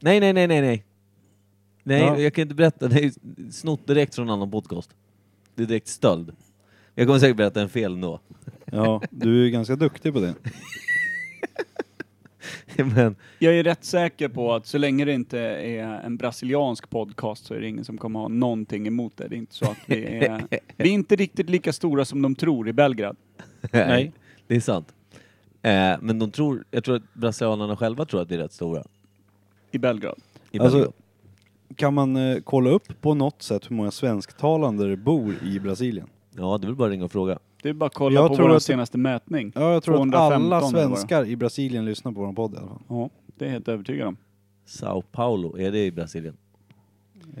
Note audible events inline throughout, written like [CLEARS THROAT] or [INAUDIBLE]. Nej, nej, nej, nej, nej. Nej, Ja. jag kan inte berätta. Det är ju snott direkt från en annan podcast. Det är direkt stöld. Jag kommer säkert berätta en fel då. Ja, du är ju ganska duktig på det. [LAUGHS] Men Jag är rätt säker på att så länge det inte är en brasiliansk podcast så är det ingen som kommer ha någonting emot det. Det är inte så att vi är... Vi är inte riktigt lika stora som de tror i Belgrad. Nej. det är sant. Eh, men de tror, jag tror att brasilianerna själva tror att det är rätt stora. I Belgrad. I Alltså- Belgien. Kan man eh, kolla upp på något sätt hur många svensktalande det bor i Brasilien? ja, det är väl bara att ringa och fråga. Det är bara att kolla Jag på tror vår att- senaste mätning. Ja, jag tror 215 att alla eller vad det var. svenskar i Brasilien lyssnar på vår podd i alla fall. Ja, det är jag helt övertygad om. Sao Paulo, är det i Brasilien?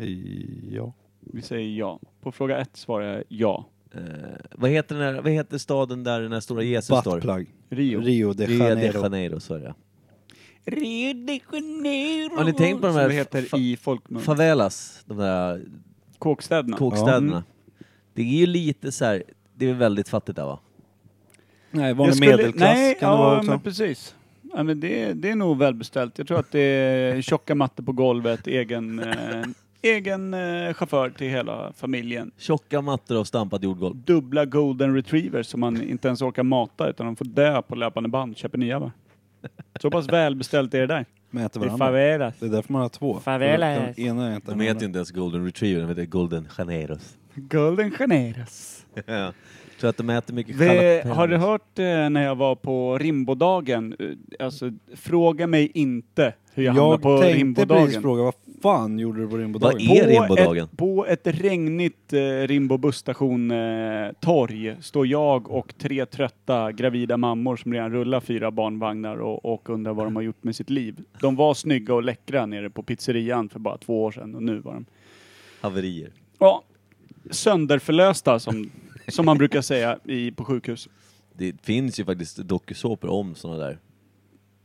I- Ja. Vi säger ja. På fråga ett svarar jag ja. Eh, vad, heter den här, vad heter staden där den här stora Jesus står? Buttplug. Rio. Rio de Rio de Janeiro. Janeiro, så är det. Rio de Janeiro. Har ni tänkt på de Som här det heter fa- i Mm. folkmun. Favelas, de där Kåkstäderna. kåkstäderna. Mm. Det är ju lite så här, det är väldigt fattigt där va? Nej, Jag vanlig skulle- medelklass nej, kan ja, det vara också. men precis. Ja, men det, det är nog välbeställt. Jag tror att det är tjocka mattor på golvet, egen, eh, egen eh, chaufför till hela familjen. Tjocka mattor av stampat jordgolv. Dubbla golden retrievers som man inte ens orkar mata utan de får dö på löpande band. Köper nya va? Så pass välbeställt är det där. Mäter I varandra. favelas. Det är därför man har två. Favelas. Den ena är inte De den heter andra. ju inte ens Golden Retriever, de heter Golden [LAUGHS] Janeiros. Golden Generas. Jag tror att de äter mycket Det, jalapenos. har du hört eh, när jag var på Rimbodagen? Eh, Alltså, fråga mig inte hur jag, hamnade Jag på tänkte precis Rimbodagen. fråga, vad fan gjorde du på Vad Rimbodagen? är- Rimbodagen? Ett, på ett regnigt eh, Rimbo busstation eh, torg står jag och tre trötta gravida mammor som redan rullar fyra barnvagnar och, och undrar vad de har gjort med sitt liv. De var snygga och läckra nere på pizzerian för bara två år sedan och nu var de Haverier. ja, sönderförlösta som, som man brukar säga i, på sjukhus. Det finns ju faktiskt dokusåpor om sådana där.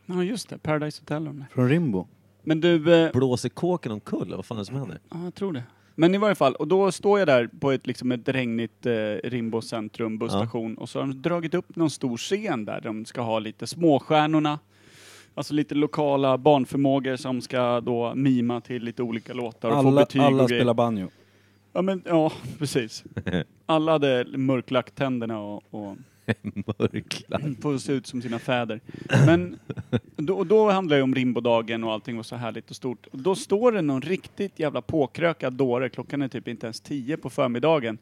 Ja just det, Paradise Hotel. och de där. Från Rimbo? Men du, eh, Blåser kåken omkull? Vad fan är det som [LAUGHS] händer? Ja, jag tror det. Men i varje fall, och då står jag där på ett, liksom ett regnigt eh, Rimbo centrum busstation och så har de dragit upp någon stor scen där de ska ha lite småstjärnorna. Alltså lite lokala barnförmågor som ska då mima till lite olika låtar och få Alla, betyg alla och grejer. spelar banjo. Ja, men, ja, [LAUGHS] [LAUGHS] precis. Alla hade mörklagt tänderna och, och Mörklar. får se ut som sina fäder. Men då, och då handlar det om Rimbodagen och allting var så härligt och stort. Och då står det någon riktigt jävla påkrökad dåre, klockan är typ inte ens tio på förmiddagen,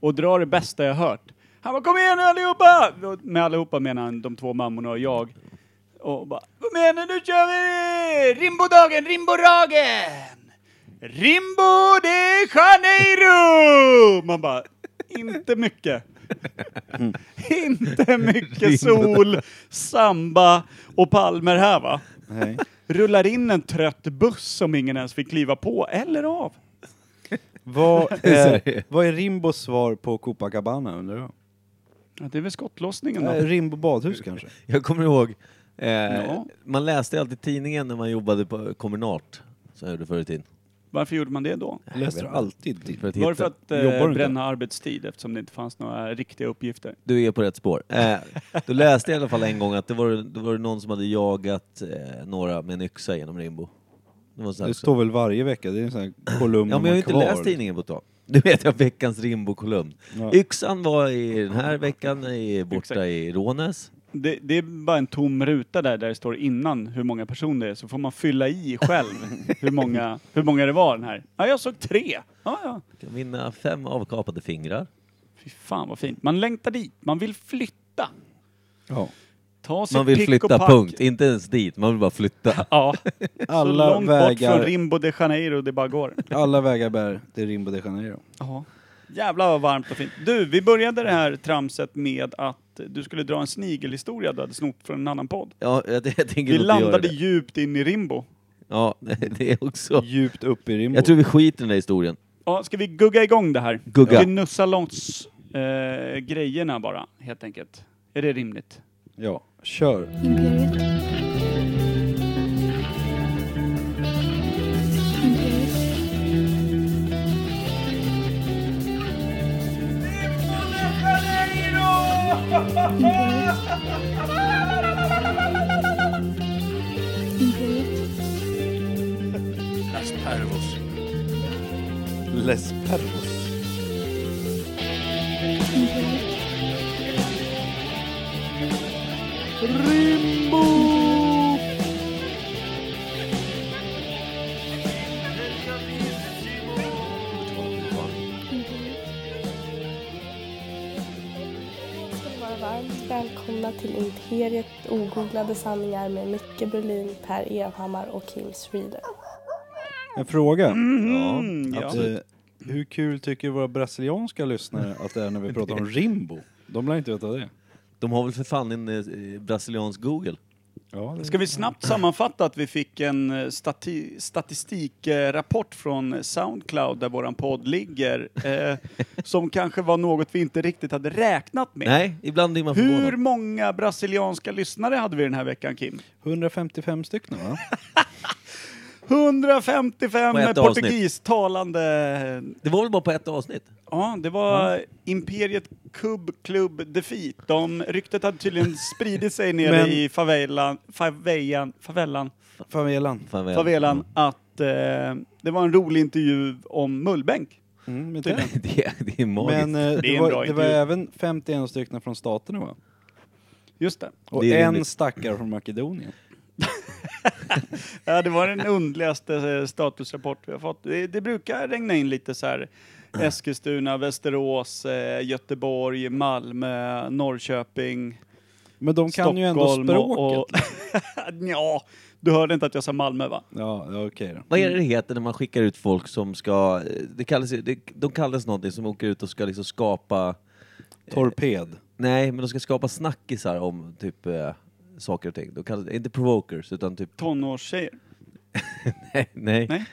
och drar det bästa jag hört. Han bara kom igen nu allihopa! Och Med allihopa menar han de två mammorna och jag. Och bara kom igen nu, nu kör vi! Rimbodagen, Rimbodagen! Rimbo de Janeiro! Man bara, inte mycket. Inte mycket sol, samba och palmer här va. Nej. Rullar in en trött buss som ingen ens fick kliva på eller av. [LAUGHS] Vad är, vad är Rimbos svar på Copacabana undrar jag? Ja, det är väl skottlossningen Eh, då. Rimbo badhus kanske? Jag kommer ihåg, eh, Ja. man läste alltid tidningen när man jobbade på Kommunart. Som jag gjorde förr i tiden. Varför gjorde man det då? Läser du alltid För till? att Var det hitta- för att Jobbar du eh, inte? bränna arbetstid eftersom det inte fanns några riktiga uppgifter? Du är på rätt spår. Eh, då läste jag i alla fall en gång att det var, det var någon som hade jagat eh, några med en yxa genom Rimbo. Det var så här Det också. står väl varje vecka, det är en sån här kolumn Ja men jag har ju inte kvar. läst tidningen på ett tag. Nu vet jag veckans Rimbo-kolumn. Ja. Yxan var i den här veckan i, borta Exakt. i Rånäs. Det, det är bara en tom ruta där, där det står innan hur många personer det är, så får man fylla i själv hur många, hur många det var den här. Ja, jag såg tre. Ja, ja. Kan vinna fem avkapade fingrar. Fy fan vad fint. Man längtar dit, man vill flytta. Ja. Ta sitt Man vill pick och flytta, pack. punkt. Inte ens dit, man vill bara flytta. Ja, Alla så långt bort vägar- från Rimbo de Janeiro det bara går. Alla vägar bär till Rimbo de Janeiro. Ja. Jävlar vad varmt och fint. Du, vi började det här tramset med att du skulle dra en snigelhistoria du hade snott från en annan podd. Ja, [LAUGHS] jag, jag tänker Vi inte göra landade det. djupt in i Mm. Rimbo. Ja, [LAUGHS] det är också... Djupt upp i Rimbo. Jag tror vi skiter i den där historien. Ja, ska vi gugga igång det här? Gugga. Ska vi nussa loss eh, grejerna bara, helt enkelt? Är det rimligt? Ja, kör. Imperiet. Imperiet. Imperiet. Imperiet. Las Pervos. Les Perros. ska vara varmt välkomna till Imperiet ogooglade sanningar med Micke Berlin, Per Evhammar och Kim Schreeder. En fråga. Mm, Ja, ja. absolut. Eh, hur kul tycker våra brasilianska lyssnare att det är när vi pratar [LAUGHS] om Rimbo? De lär inte veta det. De har väl för fan en eh, brasiliansk Google? Ja, det Ska vi snabbt sammanfatta att vi fick en eh, stati statistikrapport från Soundcloud där våran podd ligger, [LAUGHS] eh, som kanske var något vi inte riktigt hade räknat med. Nej, ibland blir man Hur förvånad. många brasilianska lyssnare hade vi den här veckan, Kim? 155 stycken va? 155 På ett avsnitt. portugistalande... Det var väl bara på ett avsnitt? eh, Ja, det var Imperiet Cub Club Defeat. De, ryktet hade tydligen spridit sig nere Men- i favelan, favelan, favelan, [LAUGHS] Favelan. Fan vad jag- favelan att eh, det var en rolig intervju om Mullbänk. Mm, men Tydligen. det. [LAUGHS] Det, är- det är magiskt. Men eh, Det är det, en bra var, det var intervju. även 51 stycken från staterna va? Just det. Och Det är en rimligt. stackare från Makedonien. Ja, det var den underligaste eh, statusrapport vi har fått. Det, det brukar regna in lite så här Mm. Eskilstuna, Västerås, eh, Göteborg, Malmö, Norrköping, Men de kan Stockholm ju ändå språket. och... och [LAUGHS] ja, du hörde inte att jag sa Malmö va? Ja, ja, okej då. Vad är det mm. det heter när man skickar ut folk som ska... eh, Det kallas, ju- det, de kallas någonting som åker ut och ska liksom skapa... Eh. Torped. Nej, men de ska skapa snackisar om typ eh, saker och ting. De kallas, inte provokers, utan typ... Tonårstjejer. [LAUGHS] Nej, nej. Nej.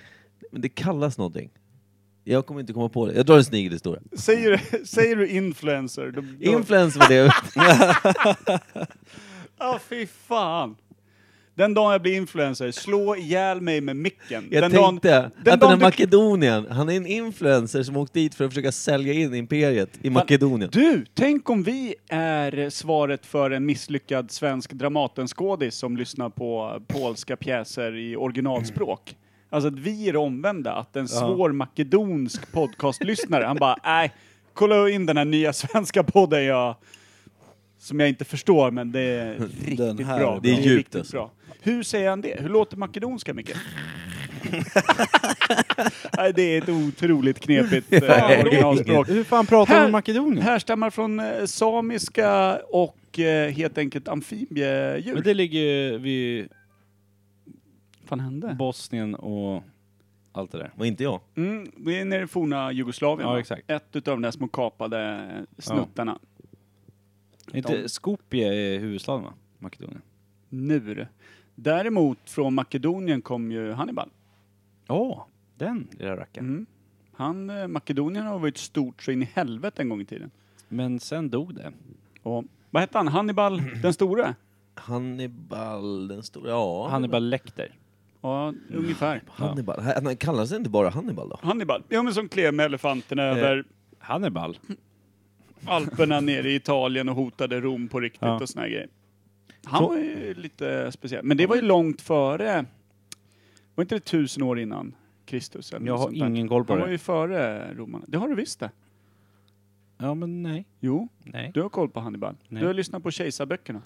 Men det kallas någonting. Jag kommer inte komma på det. Jag drar en snigelhistoria. Säger, du- säger du influencer? Då, då, Influencer var [LAUGHS] det. ah, fy fan. Den dagen jag blir influencer, slå ihjäl mig med micken. Jag den tänkte dagen, den att den här dagen du Makedonien, han är en influencer som åkt dit för att försöka sälja in imperiet i Makedonien. Du, tänk om vi är svaret för en misslyckad svensk Dramatenskådis som lyssnar på polska pjäser i originalspråk. Alltså att vi är det omvända, att en svår makedonsk podcastlyssnare, han bara nej, kolla in den här nya svenska podden jag, som jag inte förstår men det är riktigt här bra. är Det är djupt riktigt alltså. bra. Hur säger han det? Hur låter makedonska Micke? Nej, det är ett otroligt knepigt eh, originalspråk. Hur fan pratar man Här- om Makedonien? Härstammar från eh, samiska och eh, helt enkelt amfibiedjur. Men Vad det ligger ju vid fan hände? Bosnien och allt det där. Och inte jag. Mm, det är nere i forna Jugoslavien. Ja, va? exakt. Ett utav de där små kapade eh, snuttarna. Inte Skopje är huvudstaden va? Makedonien. Nu. Däremot från Makedonien kom ju Hannibal. Ja, den lilla rackaren. Mm. Han, eh, Makedonien har varit stort så in i helvete en gång i tiden. Men sen dog det. Och, vad hette han? Hannibal den store? Hannibal den stora, ja. Han är bara läkter. Ja, ungefär. Hannibal. Han kallas inte bara Hannibal då? Hannibal, ja men som klev med elefanterna Eh. över Hannibal. Alperna nere i Italien och hotade Rom på riktigt Ja. och såna här grejer. Han var ju lite speciell. Men det var ju långt före... Var inte det tusen år innan Kristus? Eller Jag något har sånt där? ingen koll på Han var det. ju före romarna. Det har du visst det. Ja men nej. Jo, Nej. du har koll på Hannibal. Nej. Du har lyssnat på kejsarböckerna.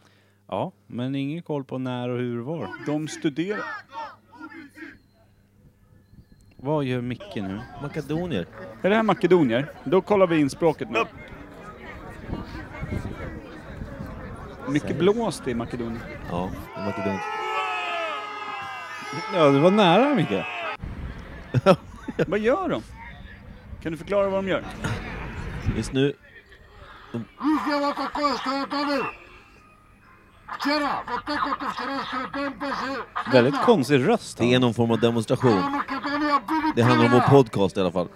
Ja, men ingen koll på när och hur var. De studerar... Vad gör Micke nu? Makedonier. Är det här makedonier? Då kollar vi in språket nu. Mycket blåst i Makedonien. Ja, det är makedont. Ja, du var nära Micke. Vad gör de? Kan du förklara vad de gör? Just nu, Видела, какое строганул! Вчера, вот так вот вчерашнюю день даже... Väldigt konstig röst. det är någon form av demonstration. Det handlar om vår podcast i alla fall.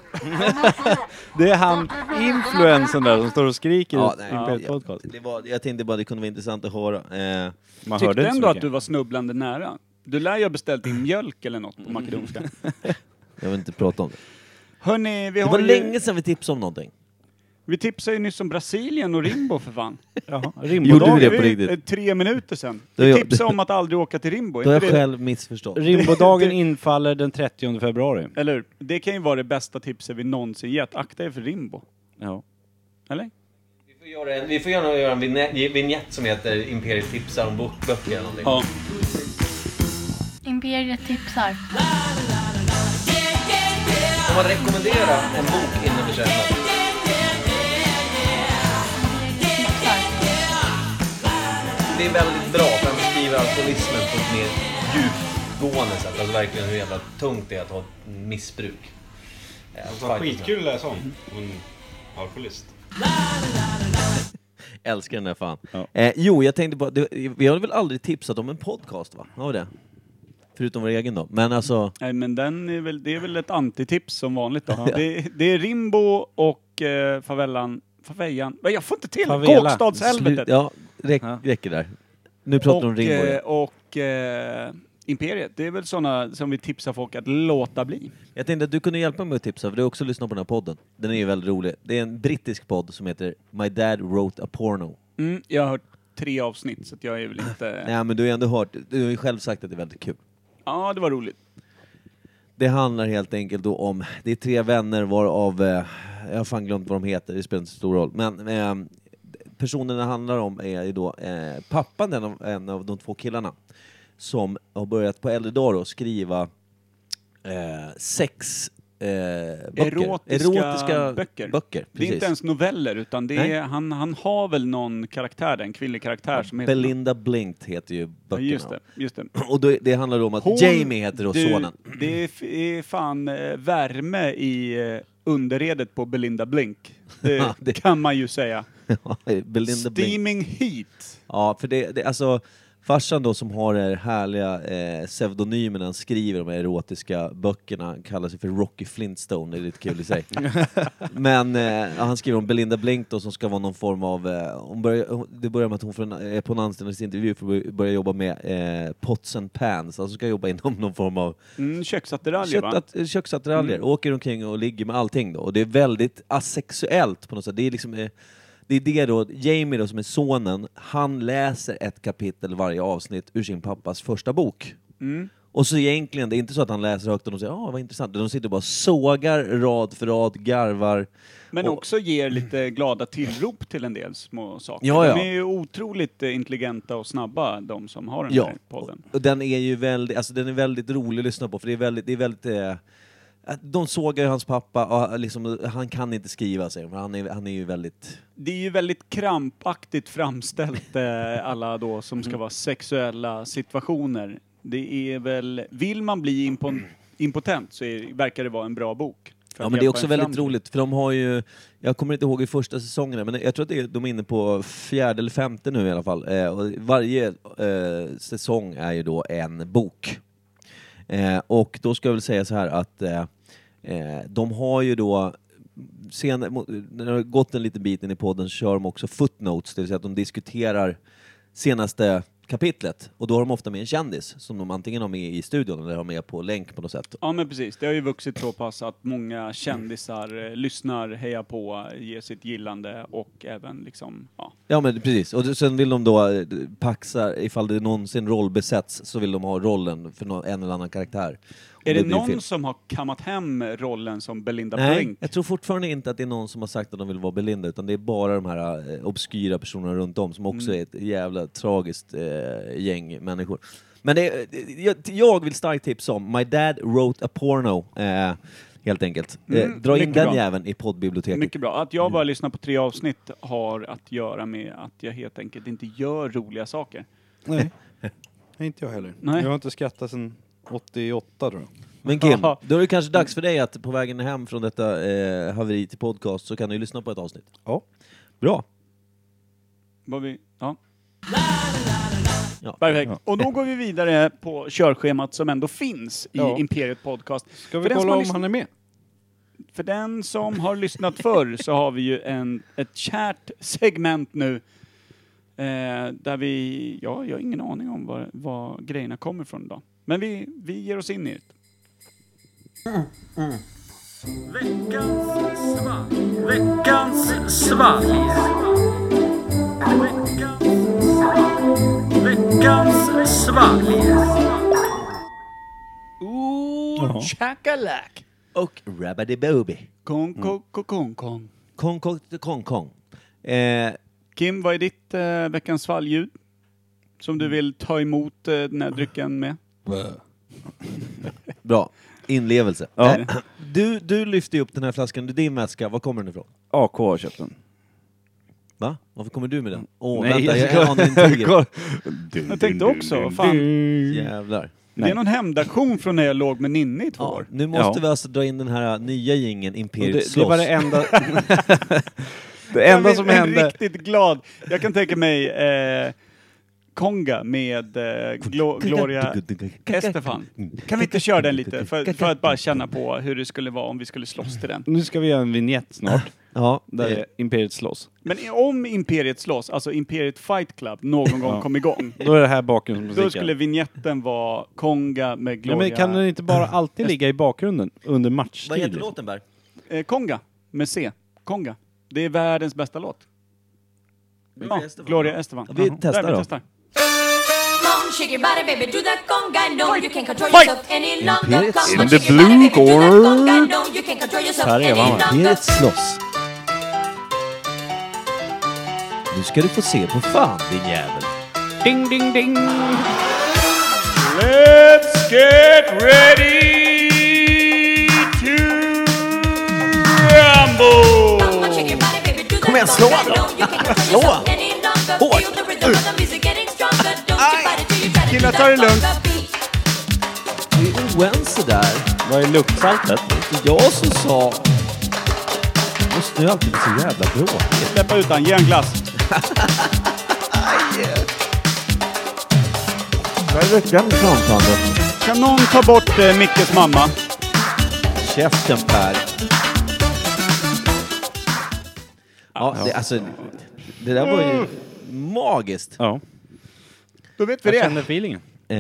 Det är han, influensen där som står och skriker Ja, i nej, Imperiet jag- Podcast. Det var, jag tänkte bara det kunde vara intressant att höra. Eh, Man hörde Tyckte inte så ändå att mycket. du var snubblande nära. Du lär ju ha beställt in mjölk eller något på makedonska. Mm. jag vill inte prata om det. Hörni, vi Det har var ju... länge sedan vi tipsade om någonting. Vi tipsade ju nyss om Brasilien och Rimbo för fan. Jaha, Gjorde Rimbodagen. vi det på är ju, riktigt? eh, Tre minuter sedan. Då är Vi jag- [LAUGHS] tipsade om att aldrig åka till Rimbo. Då har jag inte det- själv missförstått. [LAUGHS] Rimbodagen infaller den 30 februari. Eller hur? Det kan ju vara det bästa tipset vi någonsin gett. Akta er för Rimbo. Ja. Eller? Vi får göra en, vi får gärna göra en vinä- vignett som heter Imperiet tipsar om bok- böcker eller någonting. Ja. Imperiet tipsar. Får man rekommendera en bok innan vi köper? Det är väldigt bra för han beskriver alkoholismen på ett mer djupgående sätt. Alltså verkligen hur jävla tungt det är att ha ett missbruk. Eh, fight- Skitkul att läsa om. Om en alkoholist. Älskar den där fan. Ja. Eh, jo, jag tänkte på, det- vi har väl aldrig tipsat om en podcast va? Har vi det? Förutom vår egen då. Men alltså, Nej men den är väl, det är väl ett antitips som vanligt då. Det, det är Rimbo och eh, favellan. Favellan. Men Jag får inte till! Favela. Kåkstadshelvetet! slut- ja, räck, Ja. räcker där. Nu pratar vi om och Rimbo. eh, och eh, Imperiet. Det är väl sådana som vi tipsar folk att låta bli. Jag tänkte att du kunde hjälpa mig att tipsa, för du har också lyssnat på den här podden. Den är ju väldigt rolig. Det är en brittisk podd som heter My Dad Wrote a Porno. Mm, jag har hört tre avsnitt så att jag är väl inte... Nej men du har ju ändå hört, du har ju själv sagt att det är väldigt kul. Ja, det var roligt. Det handlar helt enkelt då om, det är tre vänner varav, eh, jag har fan glömt vad de heter, det spelar inte så stor roll. Men eh, personen det handlar om är ju då eh, pappan den av, en av de två killarna. Som har börjat på äldre dagar att skriva eh, sex eh, böcker. Erotiska böcker. Det precis. är inte ens noveller utan det Nej. är, han, han har väl någon karaktär där, en kvinnlig karaktär som heter... Belinda Blinked heter ju Ja, böckerna. just det, just det. Och då, det handlar då om att Jamie heter då du, sonen. [LAUGHS] Det är, f- är fan eh, värme i eh, underredet på Belinda Blink. [LAUGHS] Det, det- kan man ju säga. Belinda Blinked. Steaming heat. Ja, för det, det alltså farsan då som har den härliga eh, pseudonymen när han skriver de här erotiska böckerna, han kallar sig för Rocky Flintstone, det är lite kul i sig. Men eh, ja, han skriver om Belinda Blink då, som ska vara någon form av, eh, hon börjar, hon- det börjar med att hon får en, är på en anställningsintervju för att börja- börja jobba med eh, pots and pans, alltså ska jobba inom någon form av Mm, köksattiraljer va? Köttat, eh, köksattiraljer. Åker omkring och ligger med allting då. Och det är väldigt asexuellt på något sätt. Det är liksom... eh, Det är det då, Jamie då som är sonen, han läser ett kapitel varje avsnitt ur sin pappas första bok. Och så egentligen, det är inte så att han läser högt och de säger ah vad intressant, de sitter bara och sågar rad för rad, garvar. Men Och- också ger lite glada tillrop till en del små saker. Ja, ja. De är ju otroligt eh, intelligenta och snabba, de som har den Ja, här podden. och den är ju väldigt, alltså den är väldigt rolig att lyssna på för det är väldigt, det är väldigt eh, att de sågar ju hans pappa, och liksom, han kan inte skriva säger de, för han är, han är ju väldigt Det är ju väldigt krampaktigt framställt eh, alla då som Mm. ska vara sexuella situationer. Det är väl, vill man bli impon- impotent så är, verkar det vara en bra bok. för Ja att men det är hjälpa också en fram väldigt till det. roligt, för de har ju, jag kommer inte ihåg i första säsongen, men jag tror att det är, de är inne på fjärde eller femte nu i alla fall. Eh, och varje eh, säsong är ju då en bok. Eh, och då ska jag väl säga så här att eh, eh, de har ju då sen, mo- när det har gått en liten bit in i podden så kör de också footnotes, det vill säga att de diskuterar senaste kapitlet. Och då har de ofta med en kändis som de antingen har med i studion eller har med på länk på något sätt. Ja men precis, det har ju vuxit så pass att många kändisar eh, lyssnar, hejar på, ger sitt gillande och även liksom, ja. Ja men precis, och sen vill de då eh, paxa, ifall det någonsin roll besätts, så vill de ha rollen för nå- en eller annan karaktär. Om Är det, blir någon film. som har kammat hem rollen som Belinda Nej, Blink? jag tror fortfarande inte att det är någon som har sagt att de vill vara Belinda, utan det är bara de här eh, obskyra personerna runt om som Mm. också är ett jävla tragiskt eh, gäng människor. Men det, eh, jag, jag vill starkt tipsa om My Dad Wrote a Porno, eh, helt enkelt. eh, Mm, dra in mycket den bra. jäveln i poddbiblioteket. Mycket bra. Att jag bara lyssnar på tre avsnitt har att göra med att jag helt enkelt inte gör roliga saker. Nej. Nej, inte jag heller. Nej. Jag har inte skrattat sedan 88 tror jag. Men Kim, Ja. då är det kanske dags för dig att på vägen hem från detta eh, haveri till podcast så kan du ju lyssna på ett avsnitt. Ja. Bra. Vad vi, ja. Ja. Perfekt. Ja. Och då går vi vidare på körschemat som ändå finns i Ja. Imperiet Podcast. Ska vi För den som kolla har om lyssnat- han är med? För den som har lyssnat förr så har vi ju en, ett kärt segment nu. Eh, där vi, ja, jag har ingen aning om var, var grejerna kommer från idag. Men vi, vi ger oss in i det. Ooh, chakalak! Och Rabadibooby. Kong, kong, kong, kong, kong. Kong Kong till Kong Kong. Eh, [LAUGHS] Kim, vad är ditt eh, veckans svalljud? Som du vill ta emot eh, den här drycken med? bra. Inlevelse. Ja. Eh, [CLEARS THROAT] du, du lyfter ju upp den här flaskan, det är din väska, var kommer den ifrån? AK har köpt den. Va? Varför kommer du med den? Åh, Nej, vänta, jag jag är anintuggad. Kolla. Jag tänkte också, vad fan, Jävlar. det är någon hämndaktion från när jag låg med Ninni i två Ja, år. nu måste Ja. vi alltså dra in den här nya gingen Det, Imperiet det slåss. var det enda... [LAUGHS] det enda Jag som blev hände... riktigt glad. Jag kan tänka mig eh, Konga med eh, Glo- Gloria Estefan. Kan vi inte köra den lite? För, för att bara känna på hur det skulle vara om vi skulle slåss till den. Nu ska vi göra en vignett snart, Ja, där det, Imperiet slåss. Men i- om Imperiet slåss, alltså Imperiet Fight Club, någon gång Ja. kom igång. Då är det här bakgrundsmusiken. Då skulle vignetten vara Konga med ja, Gloria... men kan den inte bara alltid ligga i bakgrunden under matchtid? vad heter liksom? låten Berg? eh, Konga, med C. Konga. Det är världens bästa låt. Ja, Estefan. Gloria Estefan. Ja, vi Jaha. testar Där, då. Come, shake your body, baby, do that conga. No, you can't control Fight! yourself any longer. Imperiet Come in on, the shake your body, baby, blue do that conga. No, you can't control yourself Här är any man, va? longer. Imperiet slåss. Nu ska du få se på fan din jävel. Ding, ding, ding! Let's get ready to Come on, rumble! shake your body, baby, do that Kom igen, slå conga. då. No, you can't Slå. control yourself any longer. Hårt. Feel the rhythm of the music getting stronger. Don't you fight it till you try to do Killar, that ta det lugnt. conga beat. Vi är oense där. Vad är luktsaltet? Det är jag som sa... Måste nu alltid bli så jävla bråkig. Släppa ut han, ge en glass. Vad är veckans framtande? Kan någon ta bort eh, Mickes mamma? Käften Per. Ja, Mm. det, alltså... Det där var ju magiskt. Ja, Då vet vi jag det. känner feelingen. Eh,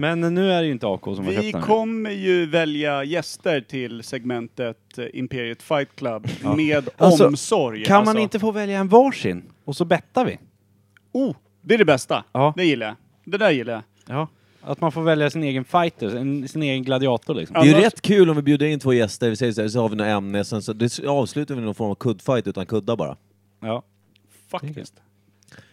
Men nu är det ju inte AK som har Vi köpt den. kommer ju välja gäster till segmentet eh, Imperiet Fight [LAUGHS] Club med Alltså, omsorg. Kan Alltså, man inte få välja en varsin? Och så bettar vi. Oh, det är det bästa. Ja. Det gillar jag. Det där gillar jag. Ja. Att man får välja sin egen fighter, en, sin egen gladiator liksom. det är ju Annars- rätt kul om vi bjuder in två gäster, vi säger så, här, så har vi något ämne, sen så det avslutar vi med någon form av kuddfight utan kuddar bara. Ja. Faktiskt.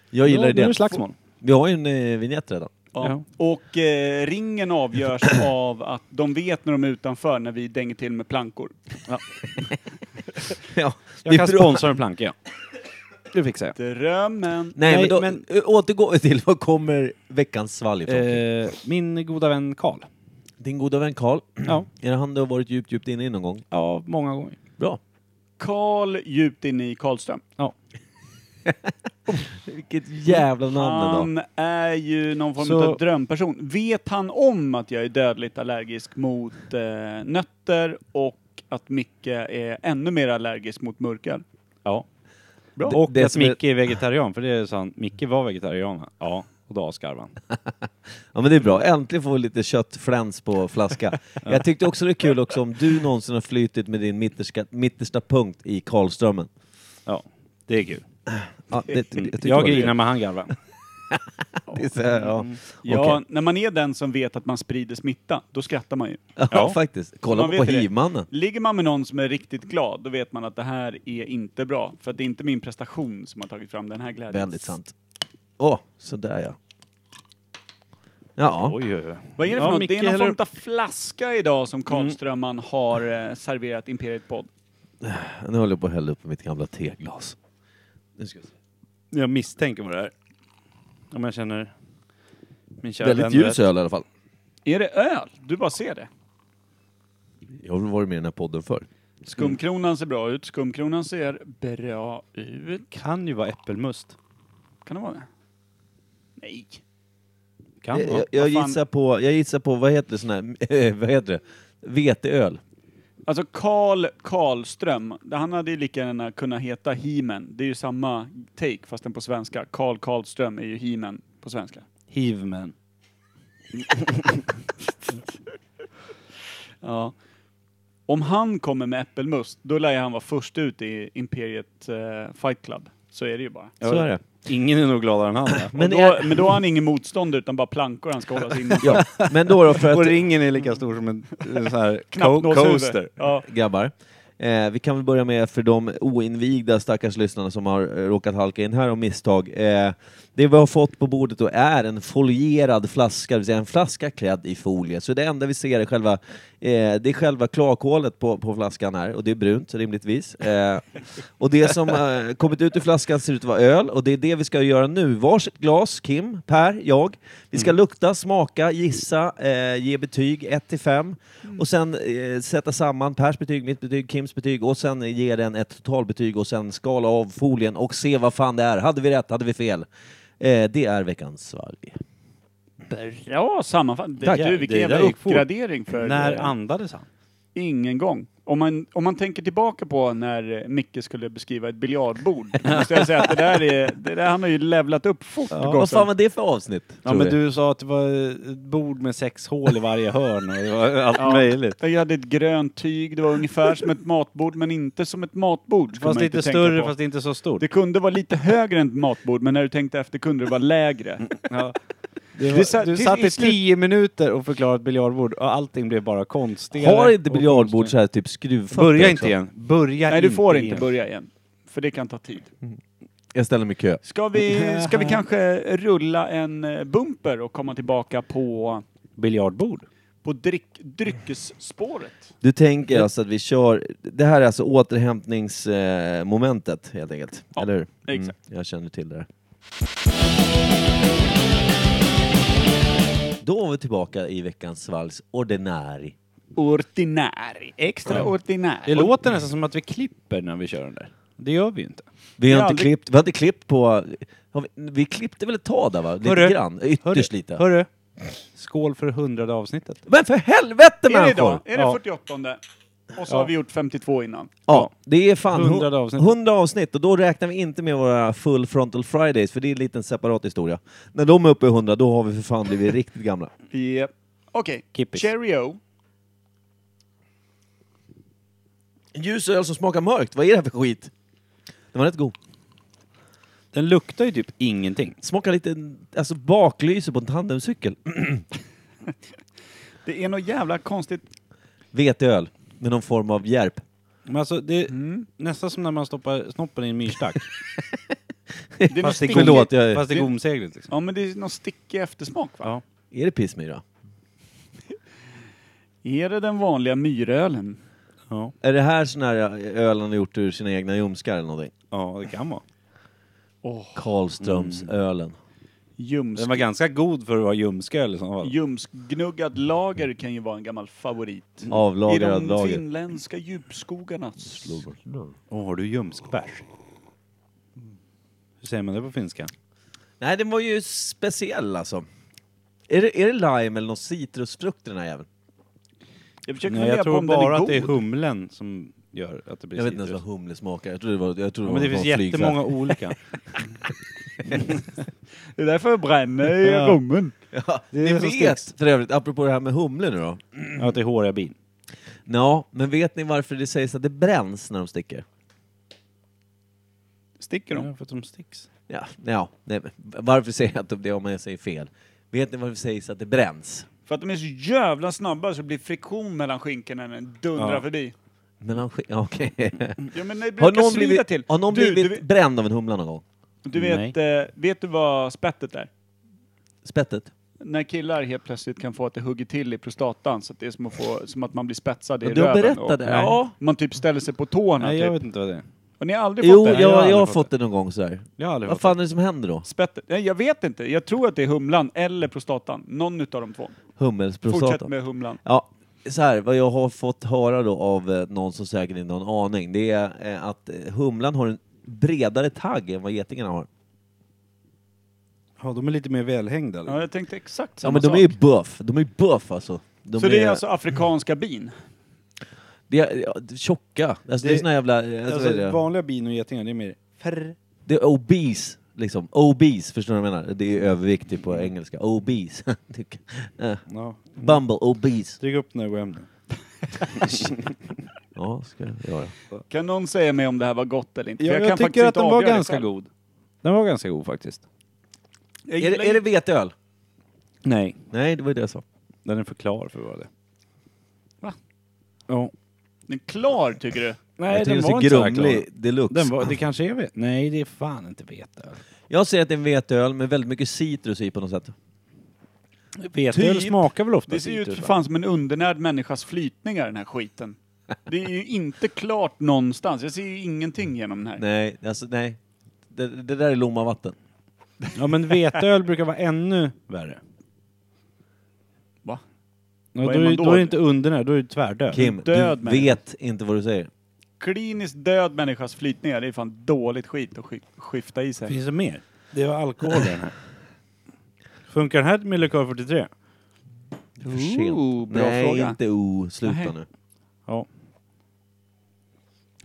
Jag gillar ja, Nu är det. det slagsmål. Vi har ju en eh, vignett redan. Ja. Och eh, [CLEARS THROAT] ringen avgörs av att de vet när de är utanför när vi dänger till med plankor. [LAUGHS] ja, Jag kan sponsra en planka, ja. Det fixar jag. Drömmen. Nej, Nej, men, då, men- ö, återgår vi till vad kommer veckans svalg ifrån? Eh, min goda vän Karl. Din goda vän Karl, [CLEARS THROAT] Ja. är det han du har varit djupt, djupt inne i någon gång? ja, många gånger. Bra. Karl djupt inne i Karlström. Vilket jävla namn ändå. Han är ju någon form Så- av drömperson. Vet han om att jag är dödligt allergisk mot eh, nötter och att Micke är ännu mer allergisk mot mörker? Ja. Bra. Och Det att som är- Micke är vegetarian, för det är sant. Micke var vegetarian. Ja, och då avskarvade han. Ja men det är bra, äntligen får vi lite köttfläns på flaska. Jag tyckte också det är kul också om du någonsin har flytit med din mitterska, mittersta punkt i Karlströmmen. Ja, det är kul. Ja, det, jag tyckte Jag det var grinar men han garvar. kul. Det är så här, ja. Ja, Okej. när man är den som vet att man sprider smitta, då skrattar man ju. [LAUGHS] Ja, Ja. faktiskt. Kolla Man på vet ju det. hivmannen. Ligger man med någon som är riktigt glad, då vet man att det här är inte bra. För att det är inte min prestation som har tagit fram den här glädjen. Väldigt sant. Åh, sådär ja. Ja, Oj, oj, oj. Vad är det för Ja, något? Micke Mm. Det är någon häller form upp. av flaska idag som Karlströmman har eh, serverat Imperiet Podd. nu håller jag på att hälla upp mitt gamla teglas. Nu ska vi se. Jag misstänker vad det är. Om jag känner min kära Väldigt vän ljus rätt. öl i alla fall. Är det öl? Du bara ser det. Jag har väl varit med i den här podden förr. Mm. Skumkronan ser bra ut, skumkronan ser bra ut. Kan ju vara äppelmust. Kan det vara det? Nej. Kan Jag, vara. jag, jag, Vad fan? gissar på, jag gissar på, vad heter det sån här, [LAUGHS] vad heter det? Veteöl. Alltså Karl Karlström, han hade ju lika gärna kunnat heta He-Man. Det är ju samma take fastän på svenska. Karl Karlström är ju He-Man på svenska. Hivmen. Ja. Om han kommer med äppelmust, då lär ju han vara först ut i Imperiet eh, Fight Club. Så är det ju bara. Så är det. Ingen är nog gladare än han. va? Men Men då, är- men då har han ingen motstånd utan bara plankor han ska hålla [LAUGHS] sig inne. Ja, men då då för Och att, ringen är lika stor som en, en sån [LAUGHS] här co- Knappnålshuvud. coaster. Ja. grabbar, eh, vi kan väl börja med för de oinvigda stackars lyssnarna som har eh, råkat halka in här av misstag. Eh, det vi har fått på bordet då är en folierad flaska, det vill säga en flaska klädd i folie. Så det enda vi ser är själva, eh, det är själva klakhålet på, på flaskan här och det är brunt rimligtvis. Eh, och det som eh, kommit ut ur flaskan ser ut att vara öl och det är det vi ska göra nu. Varsitt glas, Kim, Per, jag. Vi ska lukta, smaka, gissa, eh, ge betyg 1 till 5 och sen eh, sätta samman Pers betyg, mitt betyg, Kims betyg och sen ge den ett totalbetyg och sen skala av folien och se vad fan det är. Hade vi rätt? Hade vi fel? Eh, det är veckans svalg. Bra sammanfattning. Tack. Du, vilken Det jävla där gick fort. uppgradering för... När eh, andades han? Ingen gång. Om man, om man tänker tillbaka på när eh, Micke skulle beskriva [LAUGHS] ett biljardbord, då måste jag säga att det där, är, det där han har ju levlat upp fort. Vad fan gossen. var det för avsnitt? alltså. Ja, tror men vi? du sa att det var ett bord med sex hål i varje hörn och det [LAUGHS] var allt Ja. möjligt. Jag hade ett grönt tyg, det var ungefär som ett matbord, men inte som ett matbord. skulle Fast man lite inte tänka större, på. fast inte så stort. Det kunde vara lite högre än ett matbord, men när du tänkte efter kunde det vara lägre. Ja. Det Det var, sa- du till- satt i i slut- tio minuter och förklarade ett biljardbord och allting blev bara konstigare. Har inte och biljardbord konstigare. så här typ skruvfötter? Börja också? inte igen. Börja Nej, du får inte igen. börja igen. För det kan ta tid. Jag ställer mig i kö. Ska [LAUGHS] vi, ska vi kanske rulla en eh, bumper och komma tillbaka på, Biljardbord? på dryck, dryckesspåret? Du tänker alltså att vi kör, det här är alltså återhämtningsmomentet eh, momentet, helt enkelt, Ja, eller hur? Mm, exakt. jag känner till det där. Då var vi tillbaka i veckans svals ordinari. ordinäri. Extraordinär. Det låter nästan som att vi klipper när vi kör den där. Det gör vi ju inte. Vi har, Ja, inte vi- klippt, vi har inte klippt på... Har vi, vi klippte väl ett tag där va? Lite Hörru, grann, ytterst lite. Hörru, skål för hundrade avsnittet. Men för helvete Är det människor! idag? Är det Ja. 48? Och så Ja. har vi gjort 52 innan. Ja, det är fan 100 100 avsnitt. avsnitt. 100 avsnitt och då räknar vi inte med våra Full Frontal Fridays för det är en liten separat historia. När de är uppe i 100 då har vi för fan blivit riktigt gamla. Yep. Okej, Kippis. Cheerio. Ljus öl som smakar mörkt, vad är det här för skit? Den var rätt god. Den luktar ju typ ingenting. Smakar lite alltså, baklyse på en tandemcykel. Det är något [LAUGHS] jävla konstigt. Veteöl med någon form av järp. Men alltså, det är nästan som när man stoppar snoppen i en [LAUGHS] myrstack. Det är något fast, det stick... är Förlåt, Förlåt, jag- fast det är gomsegligt liksom. Ja men det är någon stickig eftersmak va? Ja. Är det pissmyra? Är det den vanliga myrölen? Ja. Är det här sån här eh, öl han har gjort ur sina egna ljumskar eller någonting? ja, det kan vara. Karlströmsölen. Ljumsk... Den var ganska god för att vara ljumske eller så. Ljumskgnuggad lager kan ju vara en gammal favorit. I Mm. Avlagrad de lager. finländska djupskogarnas... Åh, har du ljumskbärs? Hur säger man det på finska? Nej, den var ju speciell alltså. Är det, är det lime eller någon citrusfrukt i den här jäveln? Jag försöker Nej, fundera jag på tror om den är bara att god. det är humlen som gör att det blir Jag vet inte ens citrus. vad humle smakar. Jag tror det var, jag tror det Ja, var men det någon finns flygfärd. [CLEARS THROAT] jättemånga olika. Det är därför jag bränner i Ja. rummen. Ja, Det är ni det som vet sticks. för övrigt, apropå det här med humle nu då. Ja, att det är håriga bin. Ja, men vet ni varför det sägs att det bränns när de sticker? Sticker de? Ja, för att de sticks. Ja, ja nej, men varför säger jag att det om jag säger fel? Vet ni varför det sägs att det bränns? För att de är så jävla snabba så det blir friktion mellan skinkorna när den dundrar Ja. förbi. Men han sk- ja, okej. Ja, men det Har brukar någon svida blivit, till. har någon du, blivit du, bränd av en humla någon gång? du vet, eh, vet du vad spettet är? Spettet? När killar helt plötsligt kan få att det hugger till i prostatan så att det är som att, få, som att man blir spetsad i Ja, du har röven. berättat det här. Ja, man typ ställer sig på tårna. Nej, jag typ. vet inte vad det är. Har ni aldrig Jo, fått det? jag, här? Jag har jag, aldrig har fått fått det någon gång sådär. Jag har aldrig Vad hört fan är det som händer då? Spettet? Nej, jag vet inte. Jag tror att det är humlan eller prostatan. Någon utav de två. Fortsätt Hummelsprostatan? med humlan. Ja, så här, vad jag har fått höra då av eh, någon som säkert inte har en aning, det är eh, att eh, humlan har en bredare tagg än vad getingarna har. Ja, de är lite mer välhängda. Ja, Liksom. jag tänkte exakt Ja samma men de sak. är ju buff, de är ju buff alltså. De så det är alltså afrikanska bin? det är, ja, det är tjocka, alltså det, är Det- såna jävla... Alltså, Alltså, vad är det? vanliga bin och getingar, det är mer frr. det är obese, liksom. Obese, förstår du vad jag menar? Det är överviktig på engelska. Obese. [LAUGHS] Det- eh, Ja. Bumble obese. Stryk upp när jag går hem nu. Ja, ska jag göra. Kan någon säga mig om det här var gott eller inte? För Jag, jag, kan faktiskt tycker att inte den var avgöra det ganska själv. god. Den var ganska god faktiskt. Jag Är gillar det, är det veteöl? Nej. Nej, det var ju det jag sa. Den är för klar för att vara det. Va? Ja. den klar tycker du? Nej, jag den tycker var det är inte så här grumlig deluxe. Den var, det kanske är vete. Nej, det är fan inte vete. Jag ser att det är en veteöl med väldigt mycket citrus i på något sätt. Vete Typ. smakar väl ofta Det ser ju ut citrus, för va? fan som en undernärd människas flytningar den här skiten. Det är ju inte klart någonstans. Jag ser ju ingenting genom den här. Nej, alltså nej. Det, det där är Lommavatten. Ja, men veteöl brukar vara ännu värre. Va? Ja, Vad då, är är man ju- då? då? är det inte under här, då är det tvärdöd. Kim, död du människa. vet inte vad du säger. Kliniskt död människas flytningar, det är fan dåligt skit att sk- skifta i sig. Finns det mer? Det var alkohol i den här. Funkar den här med Lekör 43? För sent. Ooh, bra nej, fråga. inte o. Sluta Nej. nu. Ja.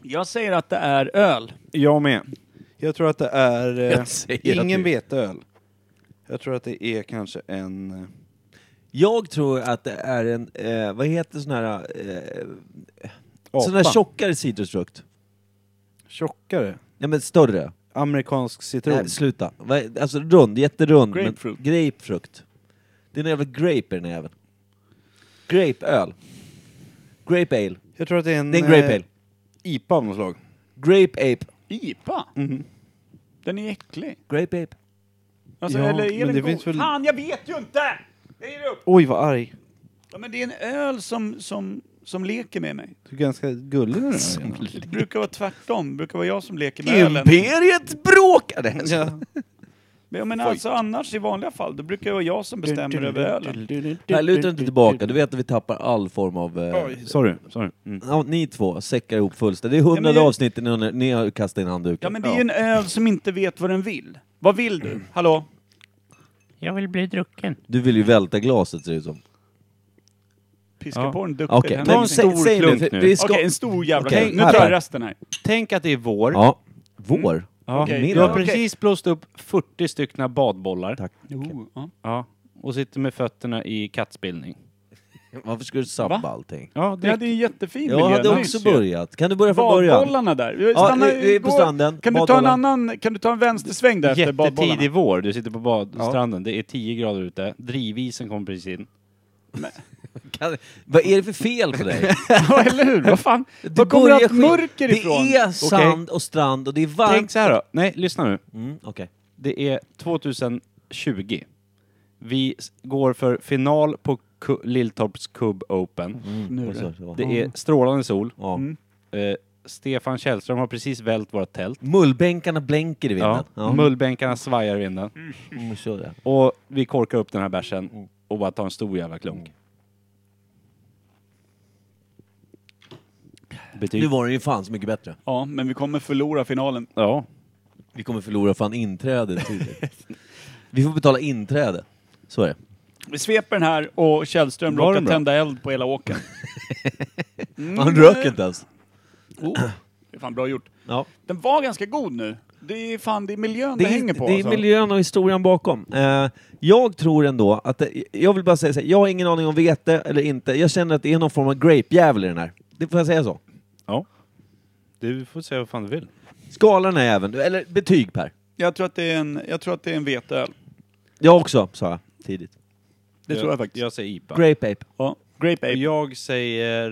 Jag säger att det är öl. Jag med. Jag tror att det är eh, Jag säger att ingen det- veteöl. Jag tror att det är kanske en... eh, Jag tror att det är en, eh, vad heter sån här, eh, Apa. sån här tjockare citrusfrukt. Tjockare. Nej men större. Amerikansk citron. Nej, sluta. Vad- Alltså rund, jätterund. Grapefruit. Men grapefrukt. Det är en jävla grape i den här jäveln. Grapeöl. Grape ale. jag tror att det är en... Det är en grape eh, ale. IPA av något slag. Grape ape. IPA? Mhm. Den är äcklig. Grape ape. Alltså, Ja, eller är men den det god? finns väl- Fan, jag vet ju inte! Jag ger upp! Oj, vad arg. Ja, men det är en öl som, som, som leker med mig. Du är ganska gullig när du Det brukar vara tvärtom. Det brukar vara jag som leker med ölen. Imperiet bråkade! är Ja, men alltså annars i vanliga fall, då brukar det vara jag som bestämmer över ölen. Här, luta inte tillbaka. Du vet att vi tappar all form av... Eh, Sorry, sorry. Mm. ja, ni två säckar ihop fullständigt. Det är hundrade jag- avsnitt innan ni- ni har kastat in handduken. Ja, Mm. men det är ju en öl som inte vet vad den vill. Vad vill du? Hallå? Jag vill bli drucken. Du vill ju välta glaset ser det ut som. Piska Ja. på den duktiga Okej, händelsen. men en stor sä- säg nu. klunk för nu. Vi ska... Okej, en stor jävla Okej, Nu här tar är. jag resten här. Tänk att det är vår. Ja. Vår? Ja. Mm. Okej. Min Du har öl. precis blåst upp 40 stycken badbollar. Tack. Jo, ja. Ja. Och sitter med fötterna i kattspillning. Varför ska du sabba Va? allting? Ja, Det hade ju en jättefin Jag hade miljö också nyss ju. börjat. Kan du börja från början? Badbollarna där. Ja, Stanna- vi- vi är på gå- stranden. Kan du ta en Badbollar. annan, kan du ta en vänstersväng där efter badbollarna? [LAUGHS] Jättetidig vår, du sitter på badstranden, det är 10 grader ute, drivisen kom precis in. Kan... Vad är det för fel på [LAUGHS] dig? Ja, eller hur? Vad fan? Det Var kommer börjar allt ske- mörker ifrån? Det är sand och strand och det är varmt. Tänk så här då, nej lyssna nu. Mm, okej. Det är 2020. Vi s- går för final på Ku- Lilltorps Cub Open. Nu Och så- så- då. Det är strålande sol. Ja. Mm. Eh, Stefan Källström har precis vält våra tält. Mullbänkarna blänker i vinden. Ja. Mullbänkarna svajar i vinden. Mm, så det. Och vi korkar upp den här bärsen och bara tar en stor jävla klunk. Betyg. Typ. Nu var den ju fan så mycket bättre. Ja, men vi kommer förlora finalen. Ja. Vi kommer förlora fan inträde tidigt. Vi får betala inträde. Så är det. Vi sveper den här och Källström Var den råkar bra? tända eld på hela åkern. Mm. Han rök inte ens. Oh, det är fan bra gjort. Ja. Den var ganska god nu. Det är fan, det är miljön det, Det är, hänger på. det är alltså. miljön och historien bakom. Eh, jag tror ändå att, det, jag vill bara säga så här, jag har ingen aning om vete eller inte. Jag känner att det är någon form av grape-jävel i den här. Det får jag säga så? ja. Du får säga vad fan du vill. Skala den här jäveln, eller betyg Per. Jag tror att det är en, jag tror att det är en veteöl. Jag också, sa jag tidigt. Det tror jag faktiskt. Jag säger IPA. Grape Ape. Ja. Grape Ape. Jag säger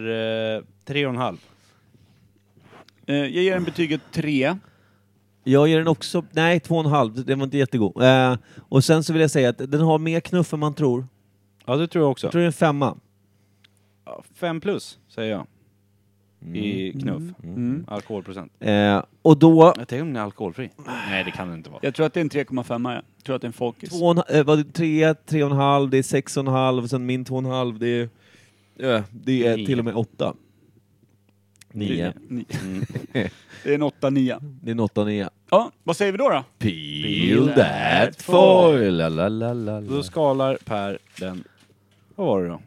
eh, tre och en halv. Eh, Jag ger den betyget 3. Jag ger den också, nej två och en halv, den var inte jättegod. Eh, och sen så vill jag säga att den har mer knuff än man tror. Ja, det tror jag också. Jag tror det är en femma. Ja, Fem plus, säger jag. I knuff. Mm. Alkoholprocent. Eh, och då, Jag tänker om den är alkoholfri. Nej, det kan den inte vara. Jag tror att det är en 3,5 ja. Jag tror att det är en folkis. två och en, eh, vad är det, tre, tre och en halv, det är sex och en halv, sen min två och en halv, det är, eh, det är Nio. till och med åtta. Nio. Nio. Mm. Nio. [LAUGHS] Det är en 8-9. Det är en åtta och nio. Ja, vad säger vi då då? Peel that foil, la la la la la. Då skalar Per den... Vad var det då?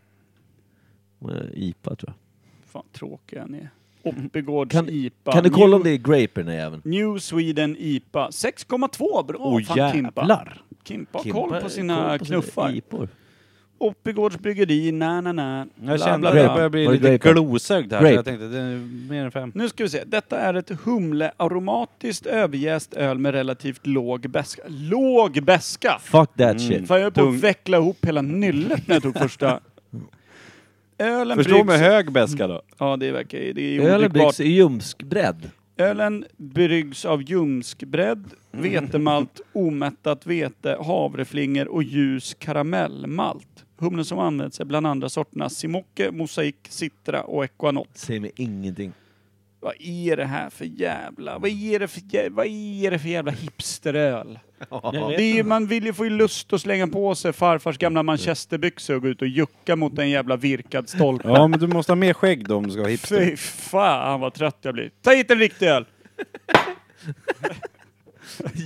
Eh, IPA tror jag. Fan, tråkiga ni är. Oppigårds Kan- IPA. Kan du kolla om New, det är grape i den här jäveln? New Sweden IPA. 6,2. Bra! Åh, Fan, Kimpa. Kimpa har koll Kimpa- på sina koll på sina knuffar. IPor. Oppigårds bryggeri, na na na. Jag bla, kände bla, att jag bla. började bli Var det lite grape? glosögd här, så Grape. jag tänkte det är mer än fem. Nu ska vi se. Detta är ett humlearomatiskt överjäst öl med relativt låg bäska. Låg bäska! Fuck that shit. Fan, jag höll på Tung. att veckla ihop hela nyllet när jag tog första. Ölen Förstå bryggs- med hög beska då. Ja, det verkar det är Ölen odrickbart. bryggs i ljumskbredd. Ölen bryggs av ljumskbredd, vetemalt, omättat vete, havreflingor och ljus karamellmalt. Humlen som används är bland andra sorterna Simoke, Mosaik, Citra och Equanot. Säger mig ingenting. [LAUGHS] Vad är det här för jävla... Vad är det för jävla, vad är det för jävla hipsteröl? Det är, ju- man vill ju få lust att slänga på sig farfars gamla manchesterbyxor och gå ut och jucka mot en jävla virkad stolpe. Ja, men du måste ha mer skägg då om du ska vara hipster. Fy fan vad trött jag blir. Ta hit en riktig öl!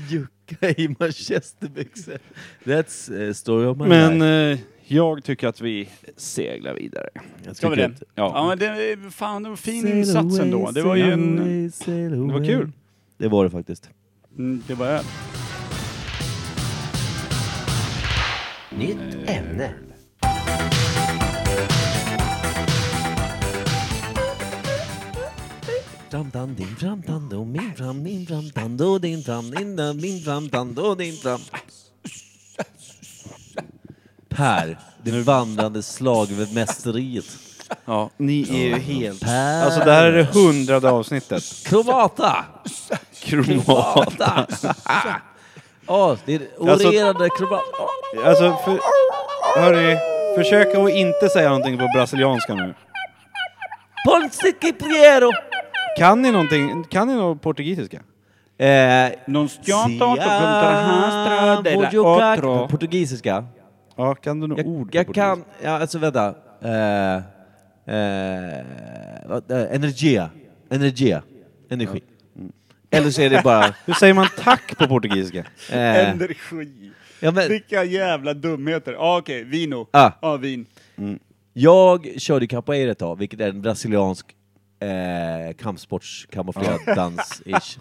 Jucka i manchesterbyxor. That's a story of my Men life. eh, jag tycker att vi seglar vidare. Jag Ska vi tycker det? att- Ja. Ja men det, fan det var en fin Sail insats away, ändå. Det var ju sail en... away, sail var away. kul. Det var det faktiskt. Mm, Det var öl. Nytt ämne. Framtan, din framtan, då min fram, min framtan, då din fram, din där, min framtan, då din fram. Per, det vandrande slagmästeriet. Ja, ni är ju helt... Per. Alltså det här är det hundrade avsnittet. Kromata! Kromat. Kromata! Ah. Åh, det är orerade kromata. [LAUGHS] Alltså, för, hörni, försök att inte säga någonting på brasilianska nu. Ponce Cipriero! Kan ni någonting? Kan ni något portugisiska? Eh, Non stiamo tanto della vou jogar- otro. Portugisiska? Ja, kan du något Jag, ord på jag kan... portugisiska? Ja, alltså vänta. Eh, eh, vad- eh, energia. Energia. Energi. Eller så är det [LAUGHS] bara... Hur säger man tack [LAUGHS] på portugisiska? Eh, Energi. ja, men, Vilka jävla dumheter. Ah, Okej, vino. Ah. Ja, vin. jag körde capoeira ett tag, vilket är en brasiliansk eh, kampsportskamouflerad [LAUGHS] dans-ish.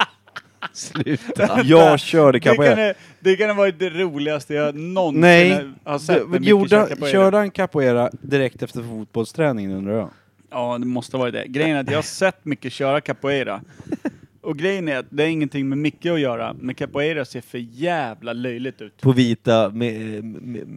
Sluta. Jag körde Det kan, capoeira. det- det kan ha varit det roligaste jag någonsin Nej, har sett. med Micke gjorde, Chaka på er. körde han capoeira direkt efter fotbollsträningen undrar jag? Ja, det måste ha varit det. Grejen är att jag har sett Micke köra capoeira. Och grejen är att det är ingenting med Micke att göra, men capoeira ser för jävla löjligt ut. På vita... Med, med,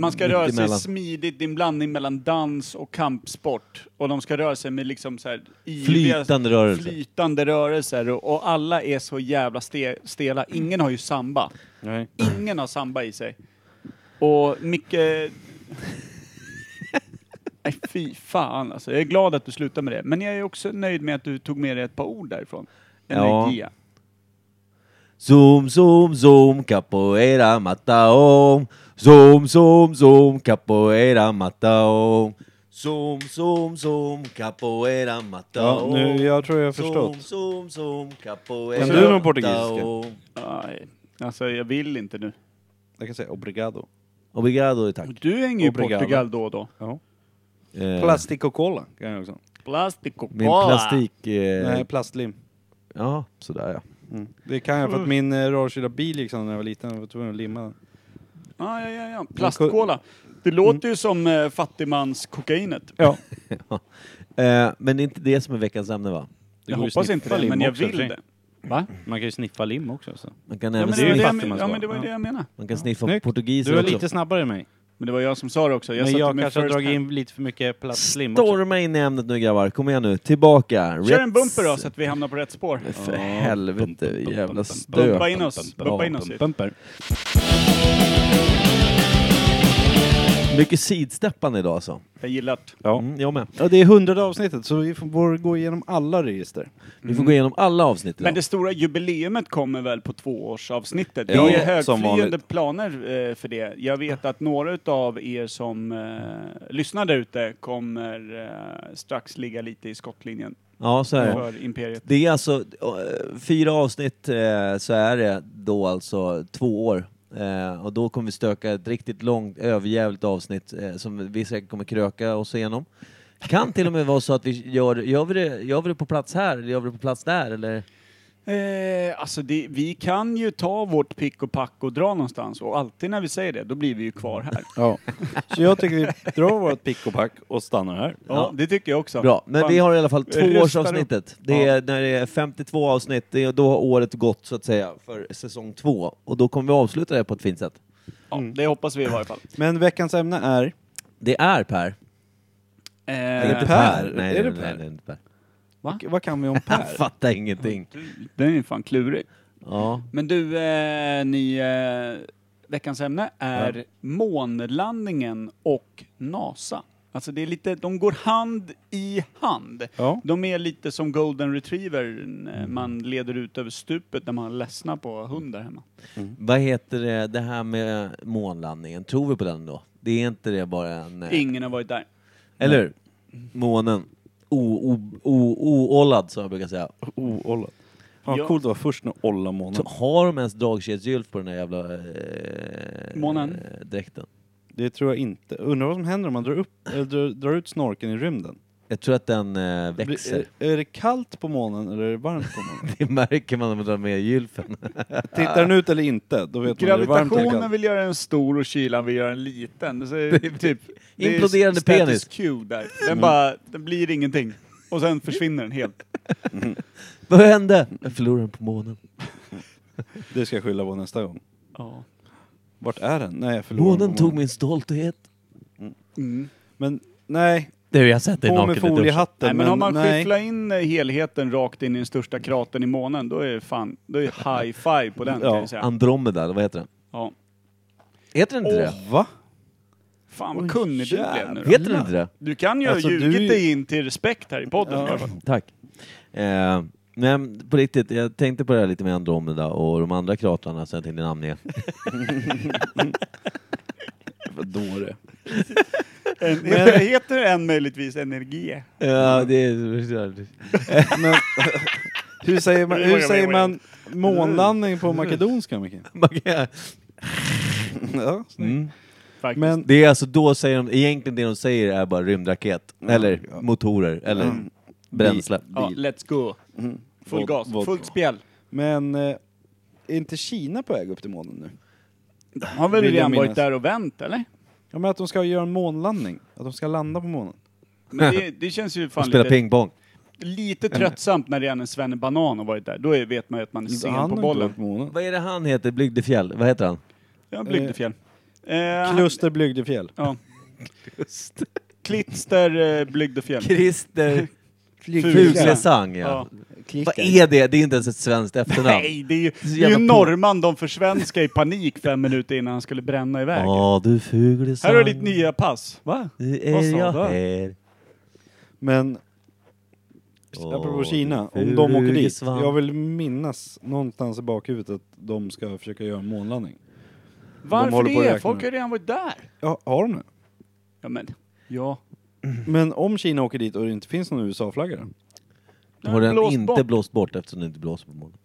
Man ska mitt röra sig emellan. smidigt, det är en blandning mellan dans och kampsport. Och de ska röra sig med liksom så här ivriga- Flytande rörelser. flytande rörelser. Och, och alla är så jävla ste, stela. Ingen har ju samba. Nej. Ingen har samba i sig. Och Micke... [LAUGHS] Nej, fy fan alltså. Jag är glad att du slutar med det. Men jag är också nöjd med att du tog med dig ett par ord därifrån. Ja. Energia. Zoom, zoom, zoom, capoeira, mataom. Zoom, zoom, zoom, capoeira, mataom. Zoom, zoom, zoom, capoeira, Ja, mataom. nu, jag tror jag har förstått. Zoom, zoom, zoom, capoeira, Kan du någon mataom. portugisiska? Aj. Alltså jag vill inte nu. Jag kan säga obrigado. Obrigado, tack. Du hänger ju i Obrigado. Portugal då och då. Eh, Plastic och cola kan jag också. Plastico Min cola. plastik... Eh, Nej, plastlim. ja, sådär ja. Det kan jag för att min eh, rörkylda bil gick sönder när jag var liten. Jag var tvungen att limma den. Ja, ja, ja, ja. Plastkola. Det låter ju som eh, fattigmanskokainet. Mm. Ja. Eh, men det är inte det som är veckans ämne va? Jag hoppas inte det, men jag vill det. Va? Man kan ju sniffa lim också. Så. Man kan Ja, även men det, var det, sniffa, jag men- ja, men det var ju Ja. det jag menade. man kan sniffa Snyggt. portugiser Du är också. lite snabbare än mig. Men det var jag som sa det också. Jag men satte jag mig kanske har first dragit hand. in lite för mycket plastlim också. Storma in i ämnet nu grabbar, kom igen nu. Tillbaka. Kör Rätt- en bumper då, så att vi hamnar på rätt spår. För helvete, jävla stök. Bumpa in oss. Bumpa in oss. Bumper. Mycket sidsteppande idag alltså. Jag gillar det. Ja. Mm, jag med. ja, det är hundrade avsnittet så vi får gå igenom alla register. Vi får gå igenom alla avsnitt Mm. Men idag. det stora jubileumet kommer väl på tvåårsavsnittet? Det Ja, är ju som högflygande vanligt. planer eh, för det. Jag vet att några utav er som eh, lyssnar där ute kommer eh, strax ligga lite i skottlinjen Ja, så är det. för Imperiet. Det är alltså eh, fyra avsnitt eh, så är det då alltså två år. Eh, och då kommer vi stöka ett riktigt långt, överjävligt avsnitt eh, som vi säkert kommer kröka oss igenom. Kan till och med vara så att vi gör, gör, vi det, gör vi det på plats här eller gör vi det på plats där eller? Eh, alltså det, vi kan ju ta vårt pick och pack och dra någonstans och alltid när vi säger det, då blir vi ju kvar här. Ja. Så jag tycker vi drar vårt pick och pack och stannar här. Ja, det tycker jag också. Bra, men Fan. vi har i alla fall Jag rustar tvåårsavsnittet. Det är när det är 52 avsnitt, det är, då har året gått så att säga för säsong två. Och då kommer vi avsluta det på ett fint sätt. Ja, det hoppas vi i varje fall. Men veckans ämne är... Det är Per. Eh, Eller Per? Nej, nej, Är det nej, Per? nej, det är inte Per. Vad kan vi om Jag Per? fattar ingenting. Den är ju fan klurig. Ja. Men du, eh, ni, eh, veckans ämne är månlandningen och NASA. Alltså det är lite, de går hand i hand. Ja. De är lite som golden retriever eh, man leder ut över stupet när man ledsnar på hundar hemma. Vad heter det, det här med månlandningen? Tror vi på den då? Det är inte det bara en... eh, Ingen har varit där. Eller hur? Månen. O- o- o- Oollad som jag brukar säga. Oollad. Fan Ja. vad coolt det var först när olla månen. Har de ens dragkedjegylf på den där jävla... Eh, Månen? eh, Dräkten? Det tror jag inte. Undrar vad som händer om man drar, upp, eller drar, drar ut snorken i rymden. Jag tror att den eh, Blir- växer. [LAUGHS] Är, är det kallt på månen eller är det varmt på månen? Det märker man när man drar med gylfen. [LAUGHS] Tittar den ut eller inte, då vet man om det är varmt eller Gravitationen kallt. vill göra en stor och kylan vill göra en liten. Det är typ, det är Imploderande status penis. quo där. Den bara, den blir ingenting. Och sen försvinner den helt. Vad hände? Jag förlorade den på månen. Det ska jag skylla på nästa gång. Ja. Vart är den? Nej, jag förlorade den Månen på tog månen. min stolthet. Mm. Men nej, Du, jag har sett dig på naken med i duschen. foliehatten. Nej, men har man nej. skyfflat in eh, helheten rakt in i den största kratern i månen, då är det fan, då är det high five på den kan Ja, jag säga. Andromeda, eller vad heter den? Ja. Heter den inte Åh, det? Va? Fan vad kunnig du blev nu då. Heter den inte det? Du kan ju Alltså, ha du ljugit är ju- dig in till respekt här i podden. i alla fall. Tack. Eh, men på riktigt, jag tänkte på det här lite med Andromeda och de andra kratrarna som jag tänkte namnge. Vad dåre. En, [LAUGHS] heter en möjligtvis energi? Ja, det är... Men hur säger man, hur säger man månlandning på makedonska, Micke? Ja, snyggt. Faktiskt. Men Det är alltså, då säger de, egentligen det de säger är bara rymdraket, eller ja. motorer, eller Mm. bränsle. ja, let's go. Full Vod- gas, vodka. fullt spjäll. Men eh, är inte Kina på väg upp till månen nu? De har väl Vill jag redan varit minnas. där och vänt eller? Ja men att de ska göra en månlandning, att de ska landa på månen. [LAUGHS] Men det, det känns ju Och fan spela lite, pingpong. lite Mm. tröttsamt när redan en Svenne Banan har varit där. Då är, vet man ju att man är sen Han på har inte bollen. varit på månen. Vad är det han heter? Blygdefjäll? Vad heter han? Ja, Blygdefjäll. Eh, Kluster Blygdefjäll. Ja. Klister eh, Blygdefjäll. Christer Fuglesang, ja. Vad Klister. är det? Det är inte ens ett svenskt efternamn. Nej, det är ju, det är jävla ju på- norrman de försvenskade i panik fem minuter innan han skulle bränna iväg. Ja du Fuglesang. Här har du ditt nya pass. Va? Nu Vad är sa jag du? här. Men Åh, apropå Kina, din om de åker dit. fugesvamp. Jag vill minnas någonstans i bakhuvudet att de ska försöka göra en månlandning. De Varför håller på att det? räkna Folk nu. har redan varit där. Ja, har de det? Ja, men. Ja. Men om Kina åker dit och det inte finns någon USA-flagga där? Har den Blås inte bort. blåst bort eftersom det inte blåser på månen?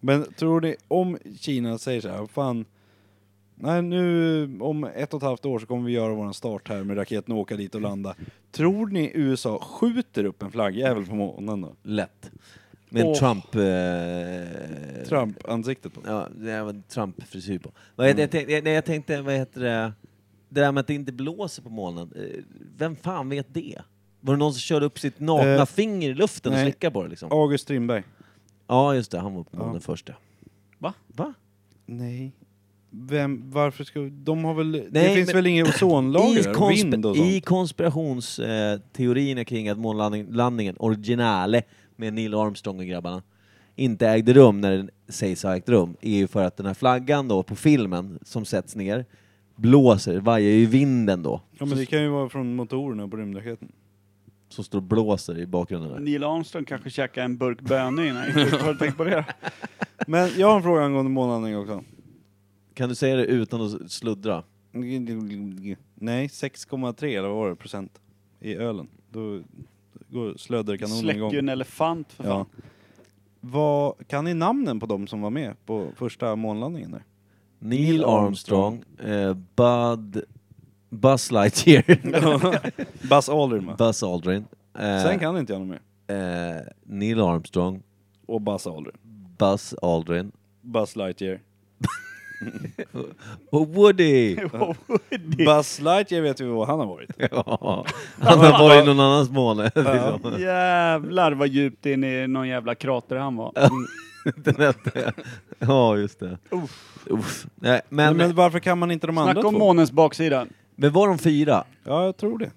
Men tror ni, om Kina säger så här, fan, nej nu om ett och ett halvt år så kommer vi göra våran start här med raketen och åka dit och landa. Tror ni USA skjuter upp en flaggjävel på månen då? Lätt. Med en Åh. Trump... Eh, Trump-ansiktet på. Ja, det var en Trump-frisyr på. Vad heter, jag, tänkte, jag, nej, jag tänkte, vad heter det? Det där med att det inte blåser på molnen. eh, Vem fan vet det? Var det någon som körde upp sitt nakna Eh, finger i luften och nej. slickade på det liksom? August Strindberg. Ja, just det. Han var på månen Ja. först ja. Va? Va? Nej. Vem, varför ska, de har väl, det Nej, finns men- väl ingen ozonlager I, där, och vind och konsp- sånt? i konspirationsteorierna kring att månlandningen, originale, med Neil Armstrong och grabbarna, inte ägde rum när den sägs ha ägt rum, är ju för att den här flaggan då på filmen som sätts ner blåser, vajar ju i vinden då. Ja men det kan ju vara från motorerna på rymdraketen. som står och blåser i bakgrunden där. Neil Armstrong kanske käkade en burk bönor innan. Har du tänkt på det? Men jag har en fråga angående månlandning också. Kan du säga det utan att sluddra? Nej, 6,3 eller vad var det, procent i ölen. Då går slöderkanonen Släcker igång. ju en elefant för Ja. fan. Vad, kan ni namnen på de som var med på första månlandningen där? Neil Armstrong, eh, Bud... Buzz Lightyear, [LAUGHS] Buzz Aldrin va? Buzz Aldrin, eh, Sen kan inte jag något mer. eh, Neil Armstrong och Buzz Aldrin. Buzz Aldrin. Buzz Lightyear. Och Woody! [LAUGHS] Buzz Lightyear vet vi vad han har varit. Ja. Han har varit någon annans måne. [LAUGHS] Liksom. Jävlar vad djupt in i någon jävla krater han var. Den hette- ja, just det. Uff. Nej, men, Men, men, varför kan man inte de andra Snacka om två? månens baksida. var de fyra? Ja, jag tror det.